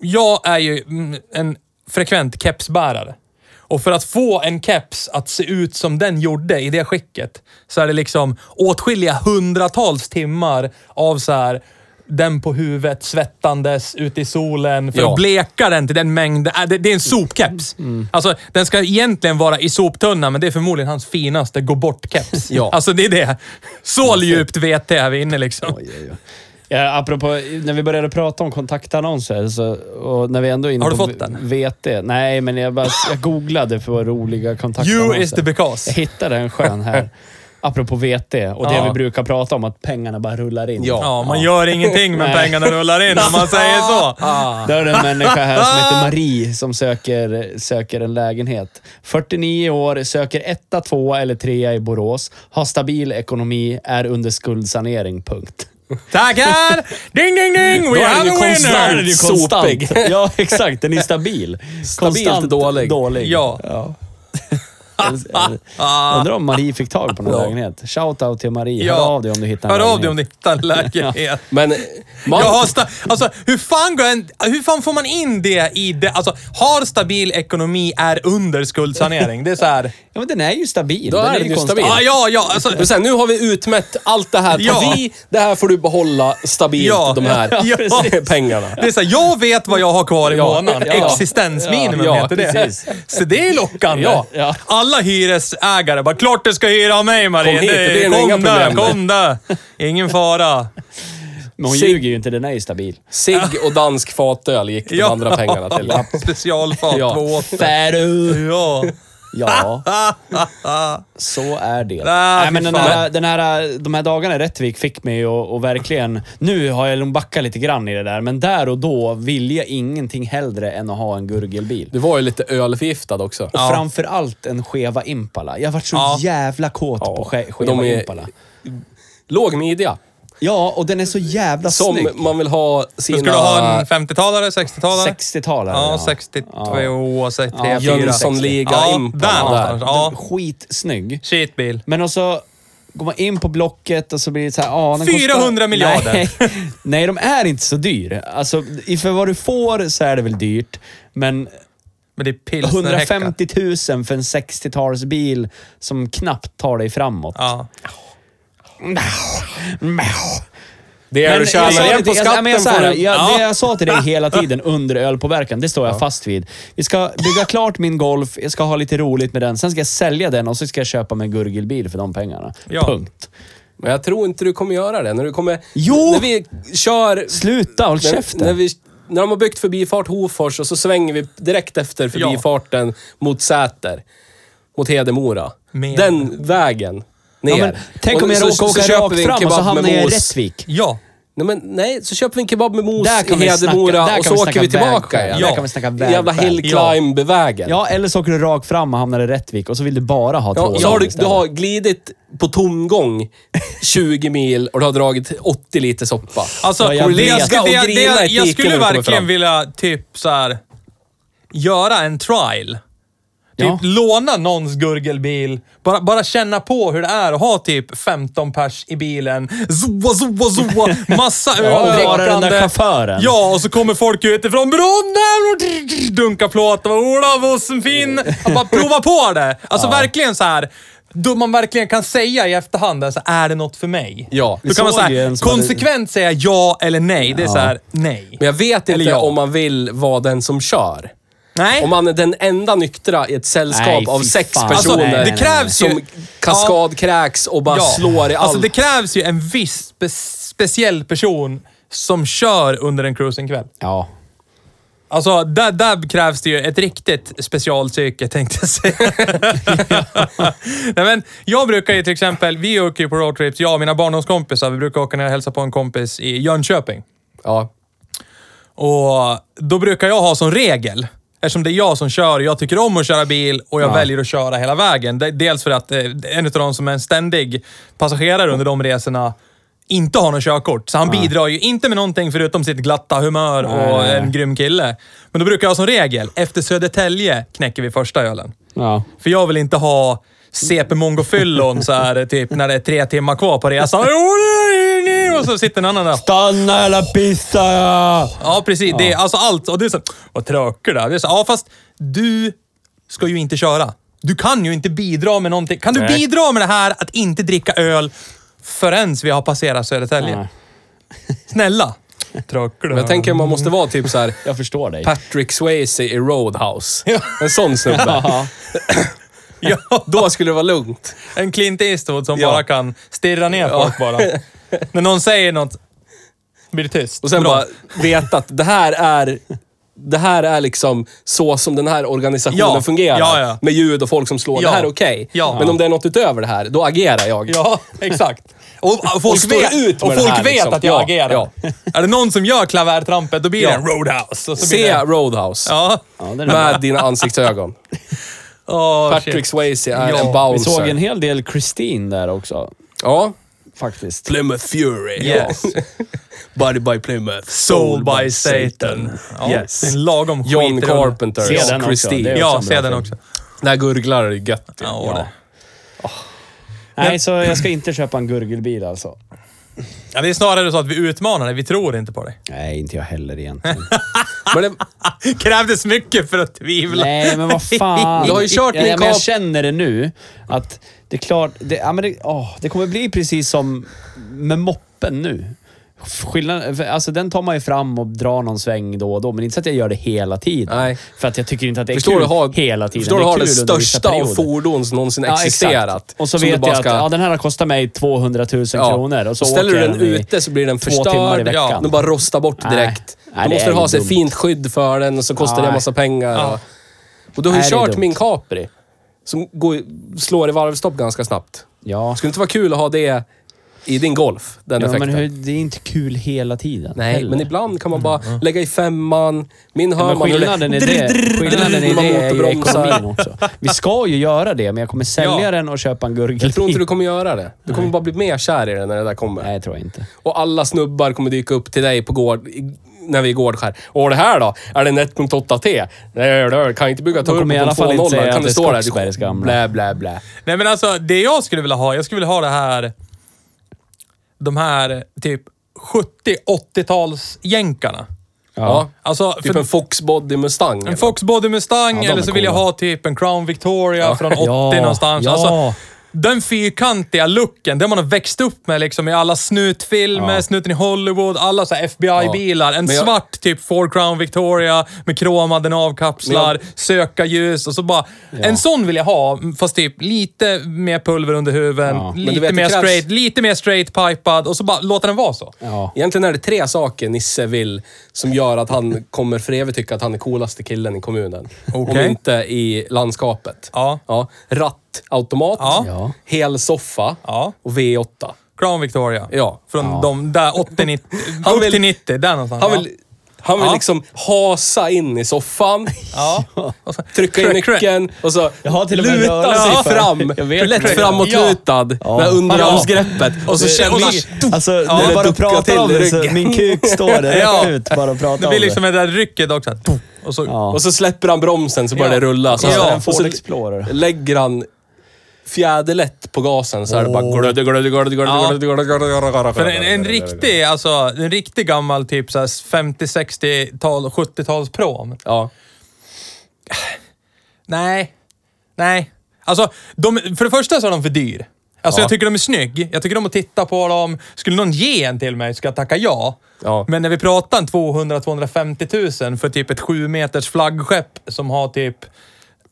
Speaker 1: Jag är ju mm, en frekvent kepsbärare. Och för att få en keps att se ut som den gjorde i det skicket, så är det liksom åtskilliga hundratals timmar av så här den på huvudet, svettandes, ute i solen, för
Speaker 2: Ja. Mm,
Speaker 1: att bleka den till den mängd... Äh, det, det är en sopkeps. Alltså, den ska egentligen vara i soptunnan, men det är förmodligen hans finaste gå bort-keps.
Speaker 2: Ja.
Speaker 1: Alltså, det är det. Så djupt vet är vi inne liksom.
Speaker 3: Oj, oj, oj. Ja, apropå, när vi började prata om kontaktannonser så, och när vi ändå är inne
Speaker 1: Har du
Speaker 3: på
Speaker 1: fått den?
Speaker 3: VT. Nej, men jag, bara, jag googlade på roliga kontaktannonser.
Speaker 1: You is the because.
Speaker 3: Jag hittade en skön här. Apropå VT och det
Speaker 1: Ja.
Speaker 3: vi brukar prata om, att pengarna bara rullar in.
Speaker 2: Ja.
Speaker 1: Ja, man gör ingenting men
Speaker 3: Nej.
Speaker 1: pengarna rullar in om man säger så.
Speaker 3: Då är det en människa här som heter Marie som söker, söker en lägenhet. 49 år, söker etta, tvåa eller trea i Borås. Har stabil ekonomi, är under skuldsanering, punkt.
Speaker 1: Tackar! Ding, ding, ding!
Speaker 2: Då
Speaker 1: We
Speaker 2: är
Speaker 1: have
Speaker 2: den
Speaker 1: a
Speaker 2: ju konstant.
Speaker 1: winner!
Speaker 2: ju konstant. Sopig.
Speaker 3: Ja, exakt. Den är stabil.
Speaker 2: Stabilt
Speaker 3: Konstant
Speaker 2: dålig.
Speaker 3: dålig.
Speaker 1: Ja.
Speaker 3: Undrar om Marie fick tag på någon lägenhet. Shout-out till Marie.
Speaker 1: Ja.
Speaker 3: Hör av dig om du hittar en
Speaker 1: Hör av
Speaker 3: lägenhet.
Speaker 1: dig om du hittar en lägenhet.
Speaker 2: Men eh, man,
Speaker 1: Jag har sta- alltså, hur, fan går en, hur fan får man in det i det? Alltså, har stabil ekonomi är under skuldsanering. Det är så här.
Speaker 3: Ja, men den är ju stabil.
Speaker 2: Då
Speaker 3: den
Speaker 2: är den ju
Speaker 3: konstant.
Speaker 2: stabil.
Speaker 1: Ah, ja, ja. Alltså,
Speaker 2: Men sen, nu har vi utmätt allt det här. Ta
Speaker 1: Ja.
Speaker 2: vi, det här får du behålla stabilt,
Speaker 1: Ja.
Speaker 2: de här
Speaker 1: Ja, precis.
Speaker 2: pengarna.
Speaker 1: det är så här, jag vet vad jag har kvar i
Speaker 2: Ja,
Speaker 1: månaden.
Speaker 2: ja.
Speaker 1: Existensminimum
Speaker 2: Ja, ja,
Speaker 1: heter det.
Speaker 3: precis.
Speaker 1: Så det är lockande.
Speaker 2: Ja,
Speaker 3: ja.
Speaker 1: Alla hyresägare bara, klart du ska hyra av mig Marie.
Speaker 2: Kom hit, det blir nog inga
Speaker 1: kom där,
Speaker 2: problem.
Speaker 1: kom där. Ingen fara.
Speaker 3: Men hon
Speaker 2: Sig-
Speaker 3: ljuger ju inte. Den är ju stabil.
Speaker 2: Sig och dansk fatöl gick de andra pengarna till.
Speaker 1: Specialfat
Speaker 2: Ja.
Speaker 1: 280.
Speaker 3: Färu!
Speaker 1: Ja. Ah,
Speaker 3: Ja, så är det. Nej, men
Speaker 1: fy
Speaker 3: den
Speaker 1: fan.
Speaker 3: här, den här, de här dagarna i Rättvik fick mig att och verkligen... Nu har jag backat lite grann i det där, men där och då ville jag ingenting hellre än att ha en gurgelbil.
Speaker 2: Du var ju lite ölförgiftad också.
Speaker 3: Och framför allt en skeva Impala. Jag har varit så
Speaker 1: Ja.
Speaker 3: jävla kåt
Speaker 2: Ja,
Speaker 3: på ske,
Speaker 2: de
Speaker 3: skeva
Speaker 2: är-
Speaker 3: Impala.
Speaker 2: Låg midja.
Speaker 3: Ja, och den är så jävla
Speaker 2: Som
Speaker 3: snygg.
Speaker 2: man vill ha
Speaker 1: Du
Speaker 2: sina...
Speaker 1: skulle ha en 50-talare, 60-talare?
Speaker 3: 60-talare.
Speaker 1: Ja, 62, 63, 4.
Speaker 3: Ja,
Speaker 2: Jönssonliga
Speaker 1: ja,
Speaker 2: impan
Speaker 1: där
Speaker 2: där.
Speaker 1: någonstans. Ja,
Speaker 3: Skitsnygg.
Speaker 1: shitbil.
Speaker 3: Men och så går man in på Blocket och så blir det så här... Ah, den
Speaker 1: 400
Speaker 3: kostar...
Speaker 1: miljarder.
Speaker 3: Nej, nej, de är inte så dyr. Alltså, i- för vad du får så är det väl dyrt, men
Speaker 1: Men det är pilsnerhäckar.
Speaker 3: 150 000 för en 60-talsbil som knappt tar dig framåt.
Speaker 1: Ja.
Speaker 2: Det är
Speaker 3: Men
Speaker 2: du
Speaker 3: jag
Speaker 2: tjänar
Speaker 3: sa
Speaker 2: igen
Speaker 3: det
Speaker 2: på
Speaker 3: till- jag-
Speaker 2: skatten
Speaker 3: men jag, sa
Speaker 2: får
Speaker 3: det,
Speaker 2: du.
Speaker 3: jag,
Speaker 1: Ja.
Speaker 3: Det jag sa till dig hela tiden under ölpåverkan, det står jag fast vid. Vi ska bygga klart min Golf, jag ska ha lite roligt med den, sen ska jag sälja den och så ska jag köpa mig en gurgelbil för de pengarna.
Speaker 1: Ja.
Speaker 3: Punkt.
Speaker 2: Men jag tror inte du kommer göra det. När du kommer...
Speaker 3: Jo!
Speaker 2: När vi kör...
Speaker 3: Sluta, håll
Speaker 2: När,
Speaker 3: käften.
Speaker 2: när, vi, när de har byggt förbifart Hofors och så svänger vi direkt efter förbifarten mot Säter. Mot Hedemora.
Speaker 1: Med-
Speaker 2: Den vägen. Ner.
Speaker 3: ja, men, tänk om
Speaker 2: Och
Speaker 3: jag
Speaker 2: så-
Speaker 3: råkar
Speaker 2: så
Speaker 3: åka
Speaker 2: köper
Speaker 3: rakt
Speaker 2: vi en
Speaker 3: fram och så
Speaker 2: kebab med
Speaker 3: hamnar jag i
Speaker 2: mos.
Speaker 3: Rättvik.
Speaker 1: ja.
Speaker 2: Nej, men, nej, så köper vi en kebab med mos
Speaker 3: Där
Speaker 2: i
Speaker 3: kan vi snacka-
Speaker 2: Hedemora
Speaker 3: där kan
Speaker 2: och
Speaker 3: vi
Speaker 2: så åker
Speaker 3: snacka
Speaker 2: vi tillbaka
Speaker 3: vägskäl.
Speaker 2: igen.
Speaker 1: Ja. Där
Speaker 3: kan vi snacka
Speaker 2: Jävla
Speaker 3: vägskäl.
Speaker 2: hill climb-vägen.
Speaker 3: Ja, eller så åker du rakt fram och hamnar i Rättvik och så vill du bara ha
Speaker 2: Ja,
Speaker 3: två
Speaker 2: så har du, du
Speaker 3: istället.
Speaker 2: har glidit på tomgång 20 mil och du har dragit 80 liter soppa.
Speaker 1: Alltså,
Speaker 3: Ja, jag
Speaker 1: det, jag
Speaker 3: vet.
Speaker 1: skulle,
Speaker 2: Och
Speaker 1: det,
Speaker 2: grina
Speaker 1: det,
Speaker 2: ett
Speaker 1: jag
Speaker 2: dike när
Speaker 1: skulle
Speaker 2: du kommer
Speaker 1: verkligen
Speaker 2: fram.
Speaker 1: vilja typ så här göra en trial. Typ
Speaker 3: Ja.
Speaker 1: låna någons gurgelbil. Bara, bara känna på hur det är att ha typ 15 pers i bilen. Zoa, zoa, zoa. Massa öl.
Speaker 3: och vara den där
Speaker 1: drickande.
Speaker 3: chauffören.
Speaker 1: Ja, och så kommer folk utifrån. Brommen! Dunkar plåt. Och Ola Vossenfinn. Bara prova på det. Alltså verkligen så här. Då man verkligen kan säga i efterhand, alltså, är det något för mig?
Speaker 2: Ja,
Speaker 1: Då
Speaker 3: vi
Speaker 1: kan man
Speaker 3: såg ju
Speaker 1: säga
Speaker 3: en som hade-
Speaker 1: konsekvent säga ja eller nej. Det är så här, nej.
Speaker 2: Men jag vet
Speaker 1: Eller
Speaker 2: inte
Speaker 1: ja.
Speaker 2: om man vill vara den som kör.
Speaker 1: Nej.
Speaker 2: Om man är den enda nyktra i ett sällskap
Speaker 3: Nej,
Speaker 2: av
Speaker 3: fy
Speaker 2: sex
Speaker 3: fan.
Speaker 2: personer
Speaker 1: Alltså,
Speaker 3: nej,
Speaker 1: det
Speaker 3: nej,
Speaker 1: krävs ju...
Speaker 2: som kaskadkräks och bara slår i allt.
Speaker 1: Alltså det krävs ju en viss spe speciell person som kör under en cruisingkväll.
Speaker 3: Ja.
Speaker 1: Alltså, där, där krävs det ju ett riktigt specialpsyke, tänkte jag säga. Nej, men jag brukar ju till exempel, vi åker ju på roadtrips, jag och mina barndomskompisar, vi brukar åka ner och hälsa på en kompis i Jönköping.
Speaker 2: ja.
Speaker 1: Och då brukar jag ha som regel, eftersom det är jag som kör, jag tycker om att köra bil och jag väljer att köra hela vägen. De- Dels för att eh, en av de som är en ständig passagerare under de resorna inte har något körkort. Så han bidrar ju inte med någonting förutom sitt glatta humör och
Speaker 3: nej, nej.
Speaker 1: en grym kille. Men då brukar jag som regel, efter Södertälje knäcker vi första ölen.
Speaker 3: Ja.
Speaker 1: För jag vill inte ha CP Mongofyllon så här, typ när det är tre timmar kvar på resan. Och så sitter en annan där.
Speaker 3: Stanna eller pissa!
Speaker 1: Ja, precis. Det är alltså allt. Och det är så här, vad tråkigt det är. Det är så här, Ja, fast du ska ju inte köra. Du kan ju inte bidra med någonting. Kan du
Speaker 2: Nej.
Speaker 1: bidra med det här att inte dricka öl förrän vi har passerat Södertälje?
Speaker 3: Nej.
Speaker 1: Snälla. Tråkigt det
Speaker 2: Men jag tänker man måste vara typ så här
Speaker 3: Jag förstår dig.
Speaker 2: Patrick Swayze i Roadhouse. En sån snubbe.
Speaker 3: Ja.
Speaker 1: Ja,
Speaker 2: Då skulle det vara lugnt.
Speaker 1: en Clint Eastwood som
Speaker 2: Ja.
Speaker 1: bara kan stirra ner folk bara. När någon säger något blir det tyst.
Speaker 2: Och sen
Speaker 1: Bra.
Speaker 2: bara veta att det här är... Det här är liksom så som den här organisationen
Speaker 1: Ja,
Speaker 2: fungerar.
Speaker 1: ja, ja.
Speaker 2: Med ljud och folk som slår.
Speaker 1: Ja,
Speaker 2: Det här är okej.
Speaker 1: ja.
Speaker 2: Men om det är något utöver det här, då agerar jag.
Speaker 1: Ja, exakt. Och, och folk
Speaker 2: står
Speaker 1: vet,
Speaker 2: ut med
Speaker 1: och
Speaker 2: det
Speaker 1: folk
Speaker 2: här,
Speaker 1: vet
Speaker 2: liksom.
Speaker 1: att jag
Speaker 2: Ja,
Speaker 1: agerar.
Speaker 2: ja.
Speaker 1: Är det någon som gör klavärtrampet, då blir
Speaker 2: Ja.
Speaker 1: det en roadhouse. Och så blir
Speaker 2: Se
Speaker 1: det,
Speaker 2: Roadhouse.
Speaker 1: ja.
Speaker 3: Ja, den är bra.
Speaker 2: Med dina ansiktsögon.
Speaker 1: Åh,
Speaker 2: Patrick
Speaker 1: shit.
Speaker 2: Swayze är
Speaker 1: Ja.
Speaker 2: en
Speaker 3: Vi
Speaker 2: bouncer.
Speaker 3: såg en hel del Christine där också,
Speaker 2: Ja.
Speaker 3: faktiskt.
Speaker 2: Plymouth Fury.
Speaker 1: Yes.
Speaker 2: Body by Plymouth.
Speaker 1: Soul by Satan. Ja,
Speaker 2: Yes.
Speaker 1: En lagom
Speaker 2: John
Speaker 1: skitrulle.
Speaker 2: Carpenter.
Speaker 3: Se den också.
Speaker 2: Christine.
Speaker 3: Det är
Speaker 1: Ja,
Speaker 3: också en
Speaker 1: se
Speaker 3: bra
Speaker 1: den
Speaker 3: film.
Speaker 1: också.
Speaker 2: Där gurglar det gött. ju.
Speaker 1: Ja, och det.
Speaker 3: Nej, så jag ska inte köpa en gurgelbil alltså.
Speaker 1: Ja, det är snarare så att vi utmanar dig. Vi tror inte på dig.
Speaker 3: Nej, inte jag heller egentligen.
Speaker 2: Men det,
Speaker 1: Krävdes mycket för att tvivla.
Speaker 3: Nej, men vad fan.
Speaker 2: Du har ju kört
Speaker 3: ja,
Speaker 2: din
Speaker 3: men Jag
Speaker 2: kap-
Speaker 3: känner det nu. Att det är klart, det, ja, men det, åh, det kommer bli precis som med moppen nu. Skillnaden, för, alltså den tar man ju fram och drar någon sväng då och då, men inte så att jag gör det hela tiden.
Speaker 2: Nej.
Speaker 3: För att jag tycker inte att det är
Speaker 2: förstår
Speaker 3: kul
Speaker 2: du ha,
Speaker 3: hela tiden.
Speaker 2: Förstår du
Speaker 3: det är
Speaker 2: ha det
Speaker 3: kul under vissa
Speaker 2: största av
Speaker 3: perioder.
Speaker 2: fordon som någonsin existerat.
Speaker 3: exakt. Och så
Speaker 2: som du
Speaker 3: vet
Speaker 2: bara
Speaker 3: jag
Speaker 2: ska-
Speaker 3: att ja, den här har kostat mig 200 000 kronor. Och så
Speaker 2: ställer
Speaker 3: åker
Speaker 2: du
Speaker 3: jag
Speaker 2: den ute så blir den
Speaker 3: två timmar i
Speaker 2: förstörd.
Speaker 3: veckan.
Speaker 2: Ja, den bara rostar bort
Speaker 3: Nej.
Speaker 2: direkt.
Speaker 3: Nej,
Speaker 2: Då
Speaker 3: det
Speaker 2: måste du
Speaker 3: är
Speaker 2: ha
Speaker 3: ju
Speaker 2: sig
Speaker 3: dumt.
Speaker 2: fint szydd för den och så kostar det en
Speaker 3: Nej.
Speaker 2: massa pengar.
Speaker 1: Ja.
Speaker 2: Och, och du har ju
Speaker 3: Nej, det är
Speaker 2: kört
Speaker 3: dumt.
Speaker 2: min Capri. Som går, slår i varvstopp ganska snabbt.
Speaker 3: Ja.
Speaker 2: Skulle inte vara kul att ha det i din golf, den
Speaker 4: Ja,
Speaker 2: effekten.
Speaker 4: men hur, det är inte kul hela tiden.
Speaker 2: Nej,
Speaker 4: heller.
Speaker 2: men ibland kan man bara lägga i femman. Min hör
Speaker 4: Men
Speaker 2: man...
Speaker 4: skillnaden i det, skillnaden i
Speaker 2: man
Speaker 4: det är ju
Speaker 2: återbromsar.
Speaker 4: ekonomin också. Vi ska ju göra det, men jag kommer sälja
Speaker 1: Ja.
Speaker 4: den och köpa en gurgel.
Speaker 2: Jag tror inte du kommer göra det. Du kommer bara bli mer kär i den när det där kommer.
Speaker 4: Nej, jag tror jag inte.
Speaker 2: Och alla snubbar kommer dyka upp till dig på gård, i- när vi är i gårdskär. Och det här då? Är det en 1.8T? Nej, det kan inte bygga turbo på
Speaker 4: kommer i alla fall inte
Speaker 2: 2.0.
Speaker 4: säga
Speaker 2: Kan
Speaker 4: att
Speaker 2: det
Speaker 4: det
Speaker 2: stå
Speaker 4: är
Speaker 2: där?
Speaker 4: Skogsbergs gamla.
Speaker 2: Blä, blä, blä.
Speaker 1: Nej men alltså, det jag skulle vilja ha, jag skulle vilja ha det här... De här typ 70-80-tals jänkarna.
Speaker 2: Ja.
Speaker 1: Alltså,
Speaker 2: Typ
Speaker 1: för-
Speaker 2: en Fox Body Mustang.
Speaker 1: En Fox Body Mustang
Speaker 4: Ja, de
Speaker 1: eller
Speaker 4: är
Speaker 1: så vill jag
Speaker 4: coola.
Speaker 1: ha typ en Crown Victoria från 80
Speaker 4: Ja,
Speaker 1: någonstans.
Speaker 4: ja.
Speaker 1: Alltså, den fyrkantiga looken, den man har växt upp med liksom i alla snutfilmer, snuten i Hollywood, alla så här FBI-bilar. En
Speaker 2: Men jag-
Speaker 1: svart typ Ford Crown Victoria med kromad, den avkapslar, sökarljus och så bara... En sån vill jag ha, fast typ lite mer pulver under huven,
Speaker 4: Ja.
Speaker 2: Men
Speaker 1: lite,
Speaker 2: du vet, det
Speaker 1: mer
Speaker 2: krävs-
Speaker 1: straight, lite mer straight pipad och så bara låta den vara så.
Speaker 4: Ja.
Speaker 2: Egentligen är det tre saker Nisse vill som gör att han kommer för evigt tycka att han är coolaste killen i kommunen.
Speaker 1: Okej.
Speaker 2: Om inte i landskapet.
Speaker 1: Ja.
Speaker 2: Rattautomat,
Speaker 1: Ja.
Speaker 4: Ja.
Speaker 2: hel soffa
Speaker 1: Ja.
Speaker 2: och V8.
Speaker 1: Crown Victoria.
Speaker 2: Ja.
Speaker 1: Från de där 80-90,
Speaker 2: Han
Speaker 1: upp
Speaker 2: vill-
Speaker 1: till 90, där någonstans.
Speaker 2: Han
Speaker 1: ja.
Speaker 2: vill, han vill
Speaker 1: Ja.
Speaker 2: liksom hasa in i soffan,
Speaker 1: Ja.
Speaker 2: trycka in
Speaker 1: Crack, crack.
Speaker 2: nyckeln och så
Speaker 4: Jag har till och med
Speaker 2: luta
Speaker 4: rörelse
Speaker 2: sig
Speaker 4: för-
Speaker 2: fram.
Speaker 4: Jag vet
Speaker 2: Lätt
Speaker 4: det.
Speaker 2: framåtlutad.
Speaker 4: Ja.
Speaker 2: Med underarmsgreppet. Och så
Speaker 1: Det-
Speaker 2: känner
Speaker 1: och
Speaker 2: man...
Speaker 1: så-
Speaker 4: Alltså,
Speaker 1: Ja,
Speaker 4: när du
Speaker 2: bara
Speaker 4: bara
Speaker 2: ducka
Speaker 4: pratar
Speaker 2: till
Speaker 4: om det så
Speaker 2: ryggen.
Speaker 4: min kuk står där
Speaker 1: Ja.
Speaker 4: ut bara och pratar
Speaker 1: Det
Speaker 4: om
Speaker 1: blir
Speaker 4: det.
Speaker 1: liksom det där rycket också. att tuff, Och så,
Speaker 4: Ja.
Speaker 2: Och så släpper han bromsen så börjar
Speaker 1: Ja.
Speaker 2: det rulla. Så
Speaker 1: Ja,
Speaker 2: så-
Speaker 1: en
Speaker 2: och
Speaker 4: Ford
Speaker 2: så
Speaker 4: Explorer.
Speaker 2: lägger han fjäderlätt på gasen så är det bara... glödde, glödde, glödde, glödde,
Speaker 1: Ja.
Speaker 2: glödde, glödde, glödde, glödde, glödde,
Speaker 1: För
Speaker 2: glödde,
Speaker 1: en, en
Speaker 2: glödde, glödde.
Speaker 1: riktig, alltså, en riktig gammal typ så här 50, 60, tal 70-tals prom.
Speaker 2: Ja.
Speaker 1: Nej. Nej. Alltså, de, för det första så är de för dyr. Alltså
Speaker 2: Ja.
Speaker 1: jag tycker de är snygg. Jag tycker om att titta på dem. Skulle någon ge en till mig skulle jag tacka ja.
Speaker 2: Ja.
Speaker 1: Men när vi pratar en 200-250 000 för typ ett 7 meters flaggskepp som har typ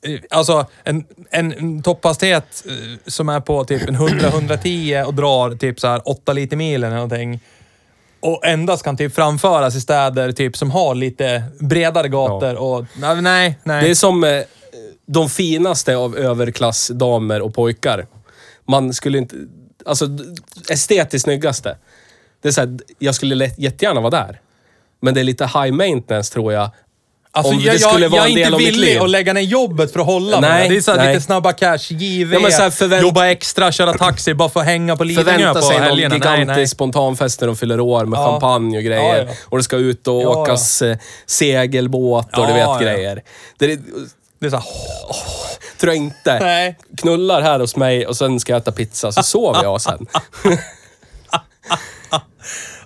Speaker 1: eh, Alltså en, en- en topphastighet eh, som är på typ en 100-110 och drar typ så här 8 liter milen eller någonting. Och endast kan typ framföras i städer typ som har lite bredare gator och... Nej, nej. nej.
Speaker 2: Det är som eh, de finaste av överklassdamer och pojkar. Man skulle inte... Alltså, d- estetiskt snyggaste. Det är så här, jag skulle lätt, jättegärna vara där. Men det är lite high maintenance tror jag.
Speaker 1: Alltså,
Speaker 2: om
Speaker 1: jag,
Speaker 2: det skulle
Speaker 1: jag,
Speaker 2: vara
Speaker 1: jag
Speaker 2: en
Speaker 1: är
Speaker 2: del
Speaker 1: inte
Speaker 2: av mitt
Speaker 1: villig
Speaker 2: liv.
Speaker 1: att lägga ner jobbet för att hålla
Speaker 2: Nej,
Speaker 1: mig. Det är så här
Speaker 2: nej.
Speaker 1: lite snabba cash, JV,
Speaker 2: Ja, men så här förvänt-
Speaker 1: jobba extra, köra taxi bara för att hänga på Lidingö
Speaker 2: Förvänta
Speaker 1: på
Speaker 2: sig någon
Speaker 1: helgerna. Nej,
Speaker 2: gigantisk
Speaker 1: nej.
Speaker 2: spontanfest när de fyller år med
Speaker 1: Ja.
Speaker 2: champagne och grejer.
Speaker 1: Ja, ja.
Speaker 2: Och det ska ut och
Speaker 1: Ja,
Speaker 2: åkas eh, segelbåt och du
Speaker 1: Ja,
Speaker 2: vet
Speaker 1: ja.
Speaker 2: grejer. Det är,
Speaker 1: Det är så här,
Speaker 2: tror jag inte.
Speaker 1: Nej.
Speaker 2: Knullar här hos mig och sen ska jag äta pizza, så sover jag sen.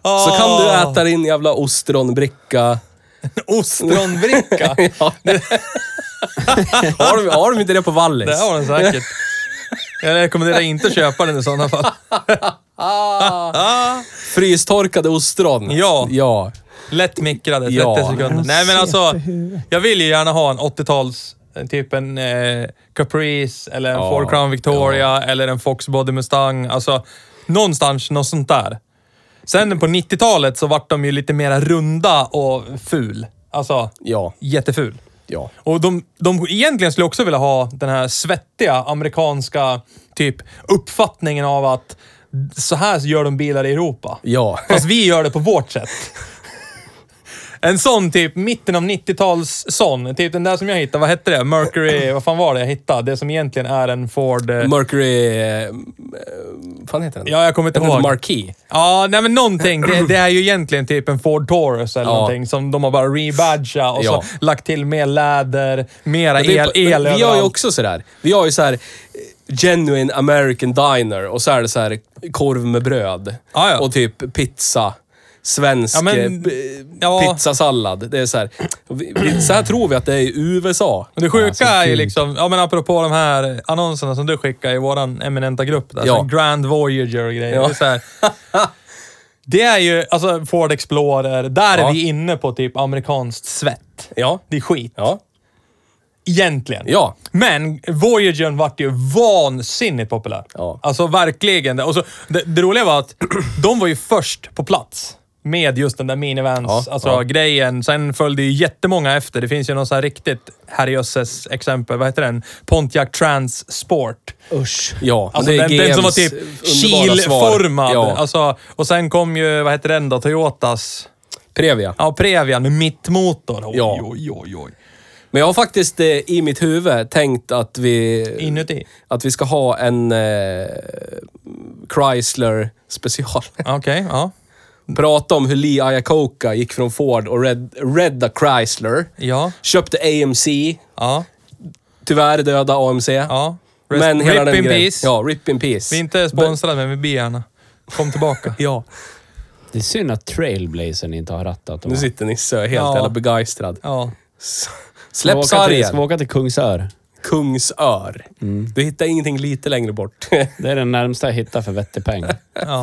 Speaker 2: Så kan du äta din jävla ostronbricka.
Speaker 1: ostronbricka.
Speaker 2: Ja. har, de, har de inte det på Wallis?
Speaker 1: det har den säkert. Jag rekommenderar inte att köpa den i sådana fall.
Speaker 2: Frystorkade ostron.
Speaker 1: Ja.
Speaker 2: ja.
Speaker 1: Lätt mikrade, 30
Speaker 2: Ja.
Speaker 1: sekunder. Nej men alltså, jag vill ju gärna ha en 80-tals, eh, typ en eh, Caprice eller en
Speaker 2: Ja,
Speaker 1: Ford Crown Victoria eller en Fox Body Mustang. Alltså, någonstans något sånt där. Sen på 90-talet så vart de ju lite mera runda och ful. Alltså,
Speaker 2: Ja.
Speaker 1: jätteful.
Speaker 2: Ja.
Speaker 1: Och de, de egentligen skulle också vilja ha den här svettiga amerikanska typ uppfattningen av att så här gör de bilar i Europa.
Speaker 2: Ja.
Speaker 1: Fast vi gör det på vårt sätt. En sån typ, mitten av 90-tals sån. Typ den där som jag hittade, vad hette det? Mercury, vad fan var det jag hittade? Det som egentligen är en Ford... eh,
Speaker 2: Mercury... eh, Vad fan heter den?
Speaker 1: Ja, jag kommer inte
Speaker 2: Den heter
Speaker 1: ihåg.
Speaker 2: Marquis.
Speaker 1: Ja, nej men någonting. Det, det är ju egentligen typ en Ford Taurus eller
Speaker 2: Ja.
Speaker 1: någonting som de har bara rebadgat och
Speaker 2: Ja.
Speaker 1: så lagt till mer läder, mera
Speaker 2: Men det är
Speaker 1: el,
Speaker 2: på- men
Speaker 1: el
Speaker 2: Vi har ju
Speaker 1: överallt.
Speaker 2: också sådär. Vi har ju såhär eh, genuine American diner och så är det så här korv med bröd.
Speaker 1: Ja, Ah, ja.
Speaker 2: Och typ pizza. Svensk
Speaker 1: Ja, men-
Speaker 2: eh, b-
Speaker 1: ja.
Speaker 2: pizzasallad. Det är så här. vi- vi- Så här tror vi att det är i USA.
Speaker 1: Men Det sjuka är ju liksom, ja men apropå de här annonserna som du skickar i våran eminenta grupp där,
Speaker 2: Ja.
Speaker 1: som Grand Voyager och grejer.
Speaker 2: Ja.
Speaker 1: Det, är så här, det är ju, alltså Ford Explorer, där
Speaker 2: Ja.
Speaker 1: är vi inne på typ amerikanskt svett.
Speaker 2: Ja.
Speaker 1: Det är skit.
Speaker 2: Ja.
Speaker 1: Egentligen.
Speaker 2: Ja.
Speaker 1: Men Voyagern vart ju vansinnigt populär.
Speaker 2: Ja.
Speaker 1: Alltså verkligen. Och så, det, det roliga var att de var ju först på plats. med just den där minivans,
Speaker 2: Ja,
Speaker 1: alltså
Speaker 2: ja.
Speaker 1: grejen. Sen följde ju jättemånga efter. Det finns ju någon sån här riktigt herrejösses exempel. Vad heter den? Pontiac Trans Sport.
Speaker 2: Usch. Ja, men
Speaker 1: Alltså
Speaker 2: det är
Speaker 1: den, den som var
Speaker 2: GMs
Speaker 1: typ
Speaker 2: underbara svar.
Speaker 1: kilformad.
Speaker 2: Ja.
Speaker 1: Alltså, och sen kom ju, vad heter den då? Toyotas.
Speaker 2: Previa.
Speaker 1: Ja, Previan med mittmotor. Oj,
Speaker 2: Ja.
Speaker 1: oj, oj, oj.
Speaker 2: Men jag har faktiskt eh, i mitt huvud tänkt att vi...
Speaker 1: Inuti.
Speaker 2: Att vi ska ha en eh, Chrysler special.
Speaker 1: Okej, ja.
Speaker 2: Prata om hur Lee Iacocca gick från Ford och red, redda Chrysler.
Speaker 1: Ja,
Speaker 2: Köpte AMC.
Speaker 1: ja,
Speaker 2: Tyvärr döda AMC.
Speaker 1: ja. Rest-
Speaker 2: Men hela
Speaker 1: rip
Speaker 2: den
Speaker 1: in
Speaker 2: grejen.
Speaker 1: peace.
Speaker 2: Ja, rip in peace.
Speaker 1: Vi är inte sponsrade, men vi ber gärna. Kom tillbaka.
Speaker 2: Ja,
Speaker 3: Det är synd att Trailblazern inte har rattat.
Speaker 2: nu sitter Nisse helt
Speaker 1: Ja.
Speaker 2: jävla begeistrad.
Speaker 1: Ja.
Speaker 2: S- Släpp
Speaker 3: ska, vi åka till- ska vi
Speaker 2: sargen!
Speaker 3: åka till Kungsör?
Speaker 2: Kungsör.
Speaker 1: Mm.
Speaker 2: Du hittar ingenting lite längre bort.
Speaker 3: Det är den närmsta jag hittar för vettig peng.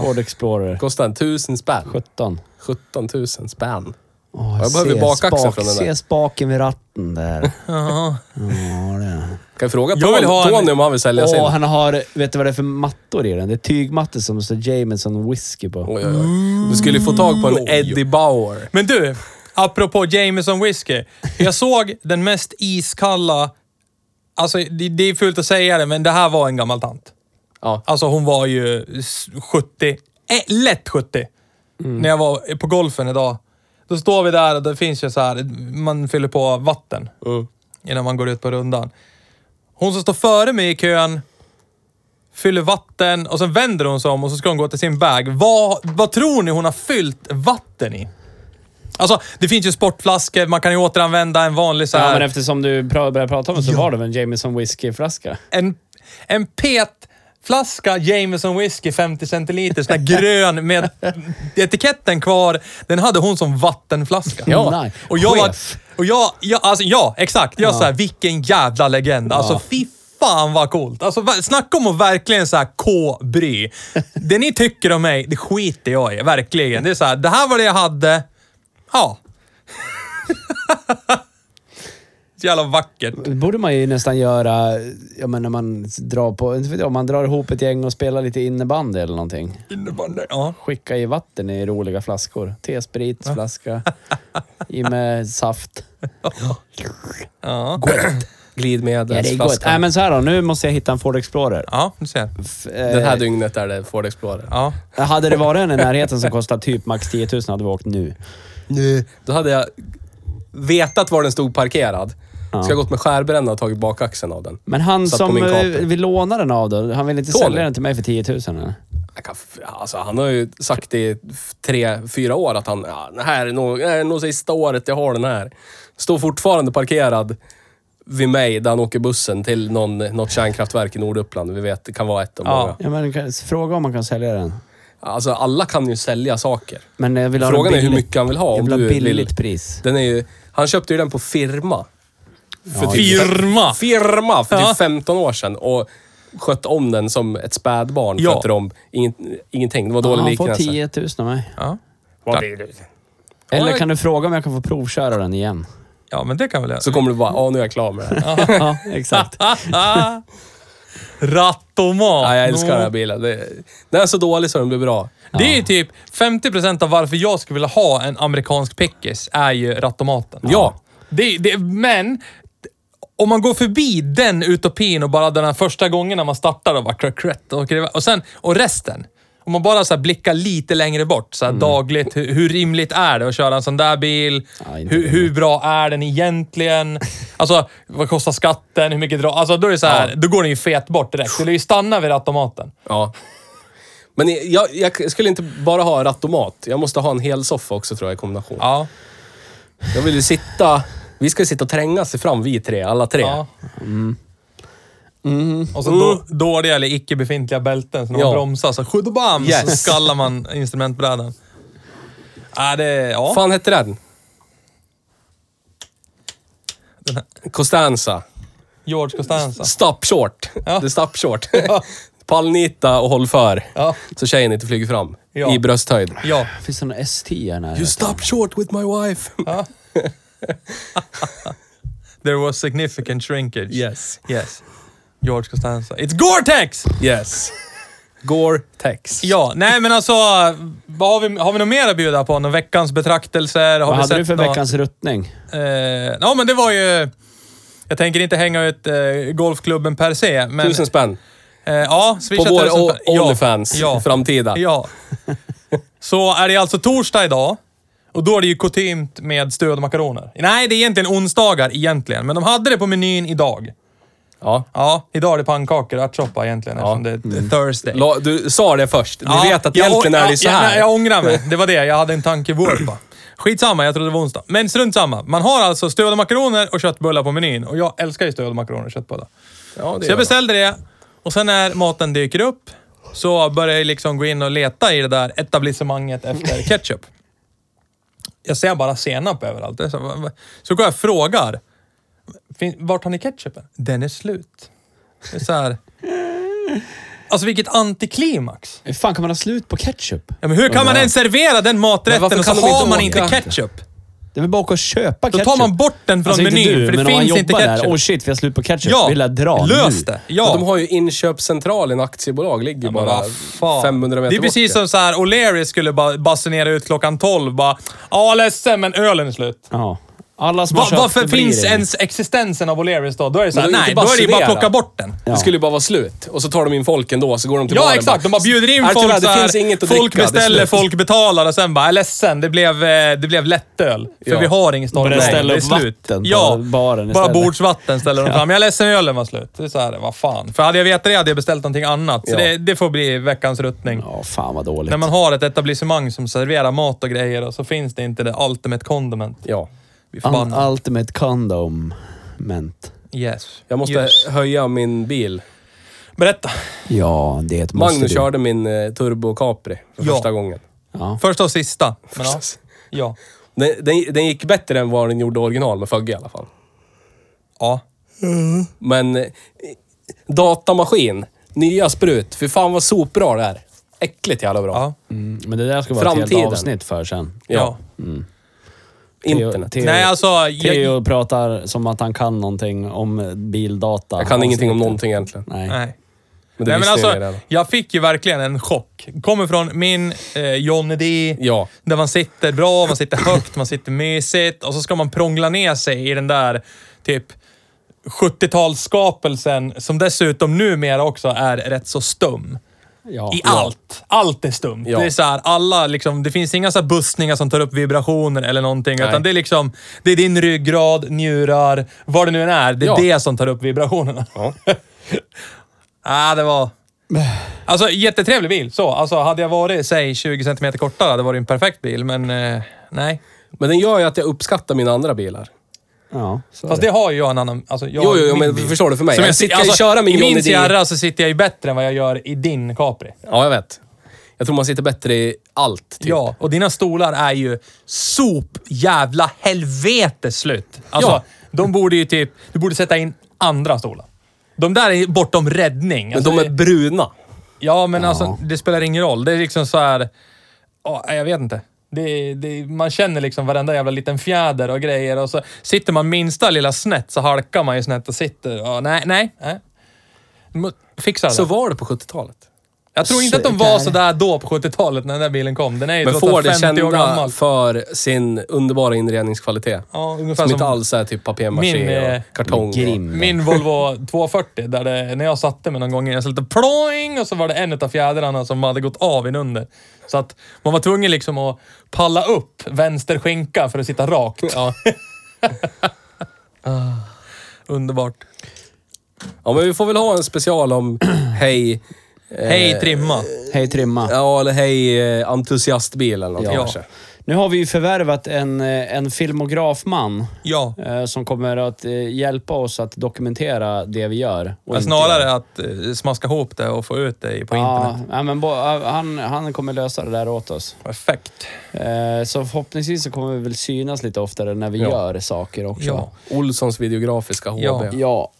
Speaker 3: Ford Explorer.
Speaker 2: Kostar en tusen spänn.
Speaker 3: 17.
Speaker 2: 17 000 spänn.
Speaker 3: Oh,
Speaker 2: jag behöver bakaxeln från den där.
Speaker 3: Se spaken vid ratten där.
Speaker 2: Kan jag fråga
Speaker 1: Jag vill ha
Speaker 2: Tony,
Speaker 1: en-
Speaker 2: Tony om han vill sälja sin?
Speaker 3: Och han har, vet du vad det är för mattor i den? Det är tygmattor som det står Jameson whisky på.
Speaker 2: Oj, oj, oj. Du skulle få tag på en Eddie Bauer.
Speaker 1: Men du, apropå Jameson whisky. Jag såg den mest iskalla... Alltså, det, det är fult att säga det, men det här var en gammal tant.
Speaker 2: Ja.
Speaker 1: Alltså, hon var ju s- 70. eh, lätt 70. När jag var på golfen idag. Då står vi där och det finns ju så här, man fyller på vatten innan man går ut på rundan. Hon som står före mig i kön fyller vatten och sen vänder hon sig om och så ska hon gå till sin bag. Vad, vad tror ni hon har fyllt vatten i? Alltså, det finns ju sportflaskor, man kan ju återanvända en vanlig så
Speaker 3: Ja,
Speaker 1: här...
Speaker 3: men eftersom du pra- började prata om det så var det väl en Jameson whiskyflaska?
Speaker 1: en, en petflaska Jameson whisky 50 centiliter, sån här grön med etiketten kvar. Den hade hon som vattenflaska.
Speaker 3: Ja. Nej,
Speaker 1: och jag var,
Speaker 3: chef.
Speaker 1: och jag, jag, alltså, ja, exakt. Jag såhär, vilken jävla legend. Alltså fy fan vad coolt. Alltså ver- snacka om att verkligen såhär K-bry. Det ni tycker om mig, det skiter jag i. Verkligen. Det är såhär, det här var det jag hade. Ja. Så jävla vackert.
Speaker 3: Det borde man ju nästan göra, ja men när man drar på, inte vet jag, om man drar ihop ett gäng och spelar lite innebandy eller någonting.
Speaker 1: Innebandy. Ja.
Speaker 3: Skicka i vatten i roliga flaskor. T-spritsflaska. I med saft.
Speaker 1: Ja.
Speaker 3: Ja, det är gott.
Speaker 2: Glidmedelsflaskan.
Speaker 3: Nej, men så här då. Nu måste jag hitta en Ford Explorer.
Speaker 1: ja, du ser.
Speaker 3: F- eh,
Speaker 2: Den här dygnet är det Ford Explorer.
Speaker 1: Ja.
Speaker 3: Hade det varit en i närheten som kostar typ max 10 000 hade vi åkt nu.
Speaker 2: Då hade jag vetat var den stod parkerad. Så jag gått med skärbrännare och tagit bakaxeln av den.
Speaker 3: Men han
Speaker 2: Satt på
Speaker 3: som
Speaker 2: min
Speaker 3: eh,
Speaker 2: kapel.
Speaker 3: vi lånade den av då, han ville inte
Speaker 2: Tony.
Speaker 3: sälja den till mig för 10 000 eller?
Speaker 2: Jag kan, f- alltså, han har ju sagt i f- tre, fyra år att han, ja, det här är nog, det här är nog sista året jag har den här. Står fortfarande parkerad vid mig där han åker bussen till någon, något kärnkraftverk i Norduppland. Vi vet, det kan vara ett av
Speaker 1: Ja.
Speaker 2: många.
Speaker 3: Ja, men kan- fråga om man kan sälja den.
Speaker 2: Alltså alla kan ju sälja saker.
Speaker 3: Men jag vill ha
Speaker 2: Frågan
Speaker 3: den
Speaker 2: är hur
Speaker 3: billigt.
Speaker 2: mycket han vill ha.
Speaker 3: Jag
Speaker 2: Om
Speaker 3: vill ha
Speaker 2: du
Speaker 3: billigt
Speaker 2: vill.
Speaker 3: pris.
Speaker 2: Den är ju, han köpte ju den på firma. För typ-
Speaker 1: Firma!
Speaker 2: Firma för
Speaker 1: Ja.
Speaker 2: typ 15 år sedan och skötte om den som ett spädbarn.
Speaker 1: Ja.
Speaker 2: Skötte om ingen, ingenting. Det var
Speaker 3: Ja,
Speaker 2: dålig
Speaker 3: han får
Speaker 2: liknelse.
Speaker 3: 10 000 av mig.
Speaker 1: Ja.
Speaker 3: Eller kan du fråga om jag kan få provköra den igen?
Speaker 1: ja, men det kan väl jag.
Speaker 2: Så kommer du bara, ja nu är jag klar med det här.
Speaker 3: ja, exakt.
Speaker 1: Rattomat!
Speaker 2: Ja, jag älskar den här bilen. Det, den är så dålig så den blir bra.
Speaker 1: Det är ju typ 50% av varför jag skulle vilja ha en amerikansk pickis är ju rattomaten.
Speaker 2: Ja.
Speaker 1: Det, det, men om man går förbi den utopin och bara den här första gången när man startar och bara krökrött och, och sen, och resten. Om man bara så här blickar lite längre bort,
Speaker 3: Mm.
Speaker 1: så här dagligt, hur, hur rimligt är det att köra en sån där bil?
Speaker 3: Ja, inte
Speaker 1: hur, hur bra är den egentligen? Alltså, vad kostar skatten? Hur mycket drar... Alltså, då är det så här, då går den ju fet bort direkt. Det lär ju stanna vid automaten.
Speaker 2: Ja. Men jag, jag skulle inte bara ha rattomat. Jag måste ha en hel soffa också tror jag i kombination.
Speaker 1: Ja.
Speaker 2: Jag vill ju sitta... Vi ska ju sitta och tränga sig fram vi tre, alla tre.
Speaker 1: ja. Och så då, dåliga eller icke befintliga bälten, så när man
Speaker 2: Ja.
Speaker 1: bromsar så skjutobam så
Speaker 2: Yes.
Speaker 1: skallar man instrumentbrädan. Ja, det... Ja.
Speaker 2: Vad fan hette den? Costanza.
Speaker 1: George Costanza.
Speaker 2: Stop short.
Speaker 1: Ja.
Speaker 2: Det är stop short. Pallnita och håll för.
Speaker 1: Ja.
Speaker 2: Så tjejen inte flyger fram.
Speaker 1: Ja.
Speaker 2: I brösthöjd.
Speaker 1: Ja.
Speaker 3: Finns det någon S10 här nära?
Speaker 2: You stop short with my wife.
Speaker 1: There was significant shrinkage.
Speaker 2: Yes.
Speaker 1: Yes. George Costanza. It's Gore-Tex!
Speaker 2: Yes. Gore-Tex.
Speaker 1: Ja, nej men alltså... vad har, vi, har vi något mer att bjuda på? Någon veckans betraktelser? Har vi
Speaker 3: Vad hade
Speaker 1: sett
Speaker 3: du för
Speaker 1: något?
Speaker 3: veckans ruttning?
Speaker 1: Eh, ja, men det var ju... Jag tänker inte hänga ut eh, golfklubben per se, men...
Speaker 2: Tusen spänn.
Speaker 1: eh, ja,
Speaker 2: På
Speaker 1: swisha
Speaker 2: vår
Speaker 1: tusen
Speaker 2: O-
Speaker 1: spänn. Ja,
Speaker 2: Onlyfans.
Speaker 1: Ja.
Speaker 2: Framtida.
Speaker 1: Ja. Så är det alltså torsdag idag. Och då är det ju kutymt med stödmakaroner. Nej, det är egentligen onsdagar egentligen, men de hade det på menyn idag.
Speaker 2: Ja.
Speaker 1: Ja, idag är det pannkakor och ärtsoppa egentligen eftersom det är Thursday.
Speaker 2: La- Du sa det först. Du
Speaker 1: Ja,
Speaker 2: Mm. vet att
Speaker 1: jag
Speaker 2: egentligen
Speaker 1: å-
Speaker 2: är
Speaker 1: ja,
Speaker 2: det så
Speaker 1: Jag,
Speaker 2: här.
Speaker 1: nej, jag ångrar mig. Det var det. Jag hade en tankevurpa. Skitsamma, jag trodde det var onsdag. Men strunt samma. Man har alltså stuvade makaroner och köttbullar på menyn. Och jag älskar ju stuvade makaroner och köttbullar.
Speaker 2: Ja, det
Speaker 1: Så jag
Speaker 2: gör
Speaker 1: beställde det. Och sen när maten dyker upp så börjar jag liksom gå in och leta i det där etablissemanget efter ketchup. Jag ser bara senap överallt. Det är Så, va- va- så går jag och frågar. "Fin- Vart har ni ketchupen? Den är slut. Det är så här... Alltså vilket antiklimax.
Speaker 3: Hur fan kan man ha slut på ketchup?
Speaker 1: Ja, men hur kan man ens servera den
Speaker 2: Men varför
Speaker 1: maträtten och så
Speaker 2: kan de
Speaker 1: har
Speaker 2: inte
Speaker 1: man
Speaker 2: åka?
Speaker 1: inte ketchup?
Speaker 3: Det är väl bara att gå och köpa
Speaker 1: Då
Speaker 3: ketchup?
Speaker 1: tar man bort den från
Speaker 3: Alltså inte
Speaker 1: menyn,
Speaker 3: du,
Speaker 1: för det
Speaker 3: men om man
Speaker 1: finns inte
Speaker 3: jobbar
Speaker 1: ketchup.
Speaker 3: Där, oh shit, vi har slut på ketchup.
Speaker 1: ja,
Speaker 3: Vi lär dra
Speaker 1: lös
Speaker 3: nu.
Speaker 1: det.
Speaker 2: Ja.
Speaker 1: Ja.
Speaker 2: De har ju inköpscentralen, aktiebolag, ligger
Speaker 1: Men
Speaker 2: bara
Speaker 1: vad fan.
Speaker 2: 500 meter
Speaker 1: Det är precis
Speaker 2: bort.
Speaker 1: som så här, O'Leary skulle bara basunera ut klockan 12. Bara, ja ledsen men ölen är slut.
Speaker 3: Ja. Alla som
Speaker 1: Va,
Speaker 3: har köpt
Speaker 1: varför
Speaker 3: det blir
Speaker 1: finns
Speaker 3: det.
Speaker 1: ens existensen av O'Learys då? Då är det så
Speaker 2: Men
Speaker 1: här,
Speaker 2: då är det
Speaker 1: nej, då
Speaker 2: inte
Speaker 1: är det ju bara att
Speaker 2: basunera.
Speaker 1: plocka bort den.
Speaker 2: Det skulle ju bara vara slut. Och så tar de in folk ändå, så går de till
Speaker 1: Ja,
Speaker 2: baren
Speaker 1: exakt. De bara bjuder in
Speaker 2: "Nej,
Speaker 1: folk
Speaker 2: tyvärr,
Speaker 1: så
Speaker 2: det
Speaker 1: här,
Speaker 2: finns inget att
Speaker 1: Folk
Speaker 2: dricka, det är
Speaker 1: beställer,
Speaker 2: slut."
Speaker 1: folk betalar och sen bara, jag är ledsen, det blev, eh, det blev lättöl. För
Speaker 2: Ja.
Speaker 1: vi har inget starkt
Speaker 3: Börjar
Speaker 1: läge,
Speaker 3: ställa
Speaker 1: det är
Speaker 3: upp
Speaker 1: slut.
Speaker 3: vatten på
Speaker 1: ja,
Speaker 3: baren
Speaker 1: Bara
Speaker 3: istället.
Speaker 1: bordsvatten ställer de fram. Jag är ledsen, ölen var slut. Det är så här, vad fan. För hade jag vetat det hade jag beställt någonting annat. Så
Speaker 2: Ja.
Speaker 1: det, det får bli veckans ruttning.
Speaker 3: Ja, fan vad dåligt.
Speaker 1: När man har ett etablissemang som serverar mat och grejer och så finns det inte det ultimate condiment.
Speaker 2: Ja.
Speaker 1: Vi är
Speaker 3: Un-
Speaker 1: förbannade.
Speaker 3: ultimate condom. Ment.
Speaker 1: Yes.
Speaker 2: Jag måste
Speaker 1: Yes.
Speaker 2: höja min bil.
Speaker 1: Berätta.
Speaker 3: Ja, det är ett måste.
Speaker 2: Magnus
Speaker 3: du.
Speaker 2: körde min eh, Turbo Capri för
Speaker 1: Ja.
Speaker 2: första gången.
Speaker 3: Ja.
Speaker 1: Första och sista. Men, ja. ja.
Speaker 2: Den, den, den gick bättre än vad den gjorde original med Fögge i alla fall.
Speaker 1: Ja.
Speaker 2: Men eh, datamaskin, nya sprut. För fan vad sopbra det är. Äckligt jävla bra.
Speaker 1: Ja.
Speaker 3: Mm, men det där ska vara ett
Speaker 2: Framtiden.
Speaker 3: helt avsnitt för sen.
Speaker 1: ja.
Speaker 2: Ja. Internet.
Speaker 3: Theo,
Speaker 1: Nej, alltså... Jag,
Speaker 3: Theo pratar som att han kan någonting om bildata.
Speaker 2: Jag kan ingenting om någonting egentligen.
Speaker 3: Nej.
Speaker 1: nej.
Speaker 2: Men det
Speaker 1: Nej, men
Speaker 2: visste jag ju
Speaker 1: alltså,
Speaker 2: redan.
Speaker 1: jag fick ju verkligen en chock. Kommer från min eh, Johnny D.
Speaker 2: Ja.
Speaker 1: Där man sitter bra, man sitter högt, man sitter mysigt och så ska man prångla ner sig i den där typ 70-talsskapelsen som dessutom numera också är rätt så stum.
Speaker 3: Ja.
Speaker 1: I allt. Allt är stumt.
Speaker 2: Ja.
Speaker 1: Det är så här, alla liksom, det finns inga så här bussningar som tar upp vibrationer eller någonting. Utan det är liksom, det är din ryggrad, njurar, vad det nu än är. Det är
Speaker 2: Ja.
Speaker 1: det som tar upp vibrationerna.
Speaker 2: Ja.
Speaker 1: ah, det var... Alltså jättetrevlig bil, så. Alltså hade jag varit, säg 20 centimeter kortare hade det varit en perfekt bil, men eh, nej.
Speaker 2: Men den gör ju att jag uppskattar mina andra bilar.
Speaker 3: Ja, så är
Speaker 1: Fast det har ju jag en annan... Alltså, jag
Speaker 2: Jo,
Speaker 1: har
Speaker 2: jo, jo
Speaker 1: min
Speaker 2: men
Speaker 1: bil.
Speaker 2: förstår du för mig?
Speaker 1: Som
Speaker 2: jag
Speaker 1: jag,
Speaker 2: sitter
Speaker 1: alltså,
Speaker 2: och köra min
Speaker 1: I
Speaker 2: Johnny
Speaker 1: min
Speaker 2: D. Ja,
Speaker 1: Sierra så sitter jag ju bättre än vad jag gör i din Capri.
Speaker 2: jag vet. Jag tror man sitter bättre i allt. Typ.
Speaker 1: Ja, och dina stolar är ju sop jävla helvete slut. Alltså,
Speaker 2: Ja.
Speaker 1: de borde ju typ... Du borde sätta in andra stolar. De där är bortom räddning.
Speaker 2: Men
Speaker 1: Alltså,
Speaker 2: de är bruna.
Speaker 1: Ja, men alltså det spelar ingen roll. Det är liksom så här... ja, jag vet inte. Det, det, man känner liksom varenda jävla liten fjäder och grejer och så sitter man minsta lilla snett så halkar man ju snett och sitter. Ja, nej, nej. nej. Må- Fixa det.
Speaker 2: Så var det på 70-talet.
Speaker 1: jag tror inte att de var sådär då på 70-talet när den där bilen kom. Den är ju
Speaker 2: Men får det
Speaker 1: 50 år
Speaker 2: kända
Speaker 1: gammal.
Speaker 2: för sin underbara inredningskvalitet.
Speaker 1: Ja, ungefär
Speaker 2: Som
Speaker 1: som
Speaker 2: inte alls är typ
Speaker 1: min,
Speaker 2: papier-maché
Speaker 1: eh,
Speaker 2: och kartong. och-
Speaker 3: Grim.
Speaker 1: Min Volvo 240, där det, när jag satte mig någon gång jag så lite ploing och så var det en av fjädrarna som hade gått av inunder. Så att man var tvungen liksom att palla upp vänster skinka för att sitta rakt. Ah,
Speaker 2: Ja.
Speaker 1: Underbart.
Speaker 2: ja, men vi får väl ha en special om hej... eh,
Speaker 1: Hej trimma!
Speaker 3: det. Hej Trimma.
Speaker 2: Ja, eller hej eh, entusiastbil eller något
Speaker 1: Ja.
Speaker 2: kanske.
Speaker 3: Nu har vi ju förvärvat en, eh, en filmografman
Speaker 1: Ja,
Speaker 3: eh, som kommer att eh, hjälpa oss att dokumentera det vi gör. och
Speaker 1: men
Speaker 3: inte gör.
Speaker 1: snarare att eh, smaska ihop det och få ut det på
Speaker 3: Ja,
Speaker 1: internet.
Speaker 3: ja, men bo, han, han kommer lösa det där åt oss.
Speaker 1: Perfekt.
Speaker 3: Eh, så förhoppningsvis så kommer vi väl synas lite oftare när vi
Speaker 2: Ja.
Speaker 3: gör saker också.
Speaker 1: Ja.
Speaker 2: Olssons videografiska HB.
Speaker 1: Ja.
Speaker 3: Ja.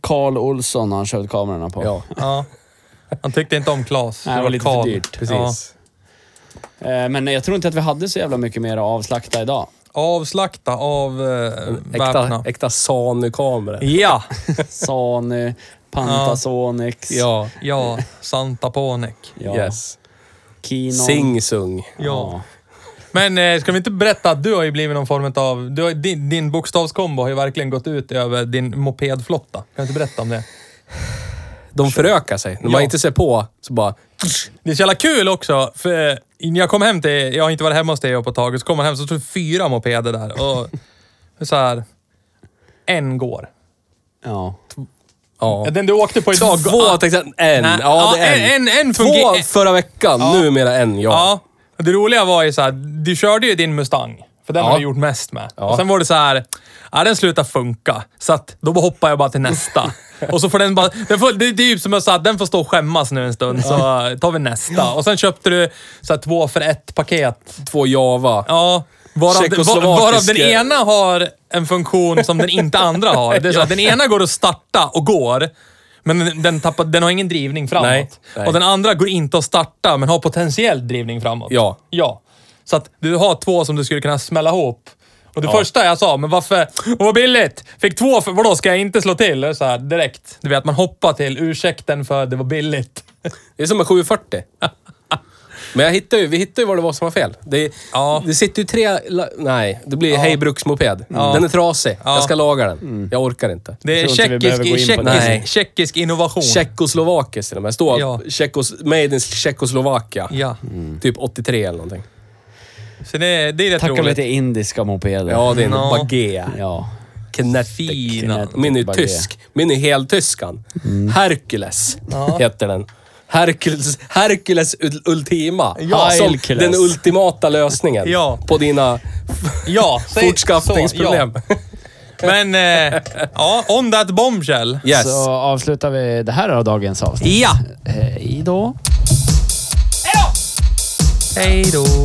Speaker 3: Carl Olsson har han köpt kamerorna på.
Speaker 2: Ja,
Speaker 1: Ja. Han tyckte inte om Klas.
Speaker 3: Nej, det var lite för
Speaker 1: Karl.
Speaker 3: dyrt.
Speaker 1: Ja.
Speaker 2: precis.
Speaker 3: Eh, men jag tror inte att vi hade så jävla mycket mer att avslakta idag.
Speaker 1: Avslakta, av eh,
Speaker 2: Äkta,
Speaker 1: väpna.
Speaker 2: äkta Sanu-kameror.
Speaker 1: Ja!
Speaker 3: Sony, Pantasonics,
Speaker 2: Ja.
Speaker 1: Ja, Santa Ponic.
Speaker 3: Ja.
Speaker 2: Yes.
Speaker 3: Kinon.
Speaker 2: Sing Sung.
Speaker 1: Ja. Men eh, ska vi inte berätta att du har ju blivit någon form av... Du har, din, din bokstavskombo har ju verkligen gått ut över din mopedflotta. Kan du inte berätta om det?
Speaker 2: De förökar sig. När man
Speaker 1: Ja.
Speaker 2: inte ser på så bara...
Speaker 1: Det är så jävla kul också, för eh, när jag kom hem till... Jag har inte varit hemma hos dig jag på ett tag. Så kom man hem så stod det fyra mopeder där. Och så här... En går.
Speaker 3: Ja.
Speaker 2: Ja.
Speaker 1: Ja, den du åkte på idag...
Speaker 2: Två tänkte jag. En.
Speaker 1: Nej,
Speaker 2: Ja, det är
Speaker 1: en,
Speaker 2: en.
Speaker 1: en, en
Speaker 2: Två
Speaker 1: fungerar...
Speaker 2: förra veckan. Numera en, ja.
Speaker 1: Ja. Det roliga var ju så här, du körde ju din Mustang. För den
Speaker 2: Ja.
Speaker 1: har du gjort mest med.
Speaker 2: Ja.
Speaker 1: Och sen var det så här, ja den slutar funka. Så att då hoppar jag bara till nästa. och så får den bara, den får, det är typ som jag sa, att den får stå och skämmas nu en stund så tar vi nästa. Och sen köpte du så här, två för ett paket.
Speaker 2: Två Java.
Speaker 1: Ja. Varav,
Speaker 2: Tjeckoslovakiska-
Speaker 1: var- varav den ena har en funktion som den inte andra har. Det är så att den ena går att starta och går, men den, den, tappar, den har ingen drivning framåt.
Speaker 2: Nej, nej.
Speaker 1: Och den andra går inte att starta, men har potentiell drivning framåt.
Speaker 2: Ja.
Speaker 1: Ja. Så att du har två som du skulle kunna smälla ihop. Och det första jag sa, men varför... Och vad billigt! Fick två för... Vadå, ska jag inte slå till? Eller Så här, direkt. Du vet, man hoppar till ursäkten för det var billigt.
Speaker 2: Det är som en 740. Men jag hittar ju, vi hittar ju vad det var som var fel. Det,
Speaker 1: Ja.
Speaker 2: det sitter ju tre... la- Nej, det blir hej bruksmoped. Den är trasig. Jag ska laga den. Jag orkar inte.
Speaker 1: Mm. Det är
Speaker 3: tror inte vi behöver gå in på
Speaker 1: tjeckisk,
Speaker 3: det.
Speaker 2: Nej.
Speaker 1: tjeckisk, tjeckisk innovation.
Speaker 2: Tjeckoslovakiskt till och med. Står
Speaker 1: Ja.
Speaker 2: Tjeckos, Made in Tjeckoslovakia.
Speaker 1: Ja.
Speaker 2: Typ 83 eller någonting.
Speaker 1: Så det, det är rätt
Speaker 3: Tacka
Speaker 1: roligt.
Speaker 3: lite indiska mopeder.
Speaker 2: Ja, det är en
Speaker 1: Ja.
Speaker 2: bagé.
Speaker 3: Ja.
Speaker 2: Kinetic.
Speaker 1: Fina. Mm.
Speaker 2: Min är
Speaker 3: Bagé.
Speaker 2: tysk. Min är heltyskan. Hercules heter den. Hercules, Hercules ul- Ultima.
Speaker 3: Ja.
Speaker 2: Som
Speaker 3: Hercules.
Speaker 2: den ultimata lösningen
Speaker 1: Ja.
Speaker 2: på dina
Speaker 1: Ja, säg-
Speaker 2: fortskaffningsproblem.
Speaker 1: så, ja. Men, eh, ja, on that bombshell.
Speaker 2: Yes.
Speaker 3: Så avslutar vi det här av dagens avsnitt. Eh,
Speaker 1: Ja!
Speaker 3: Hej då.
Speaker 1: Hej då!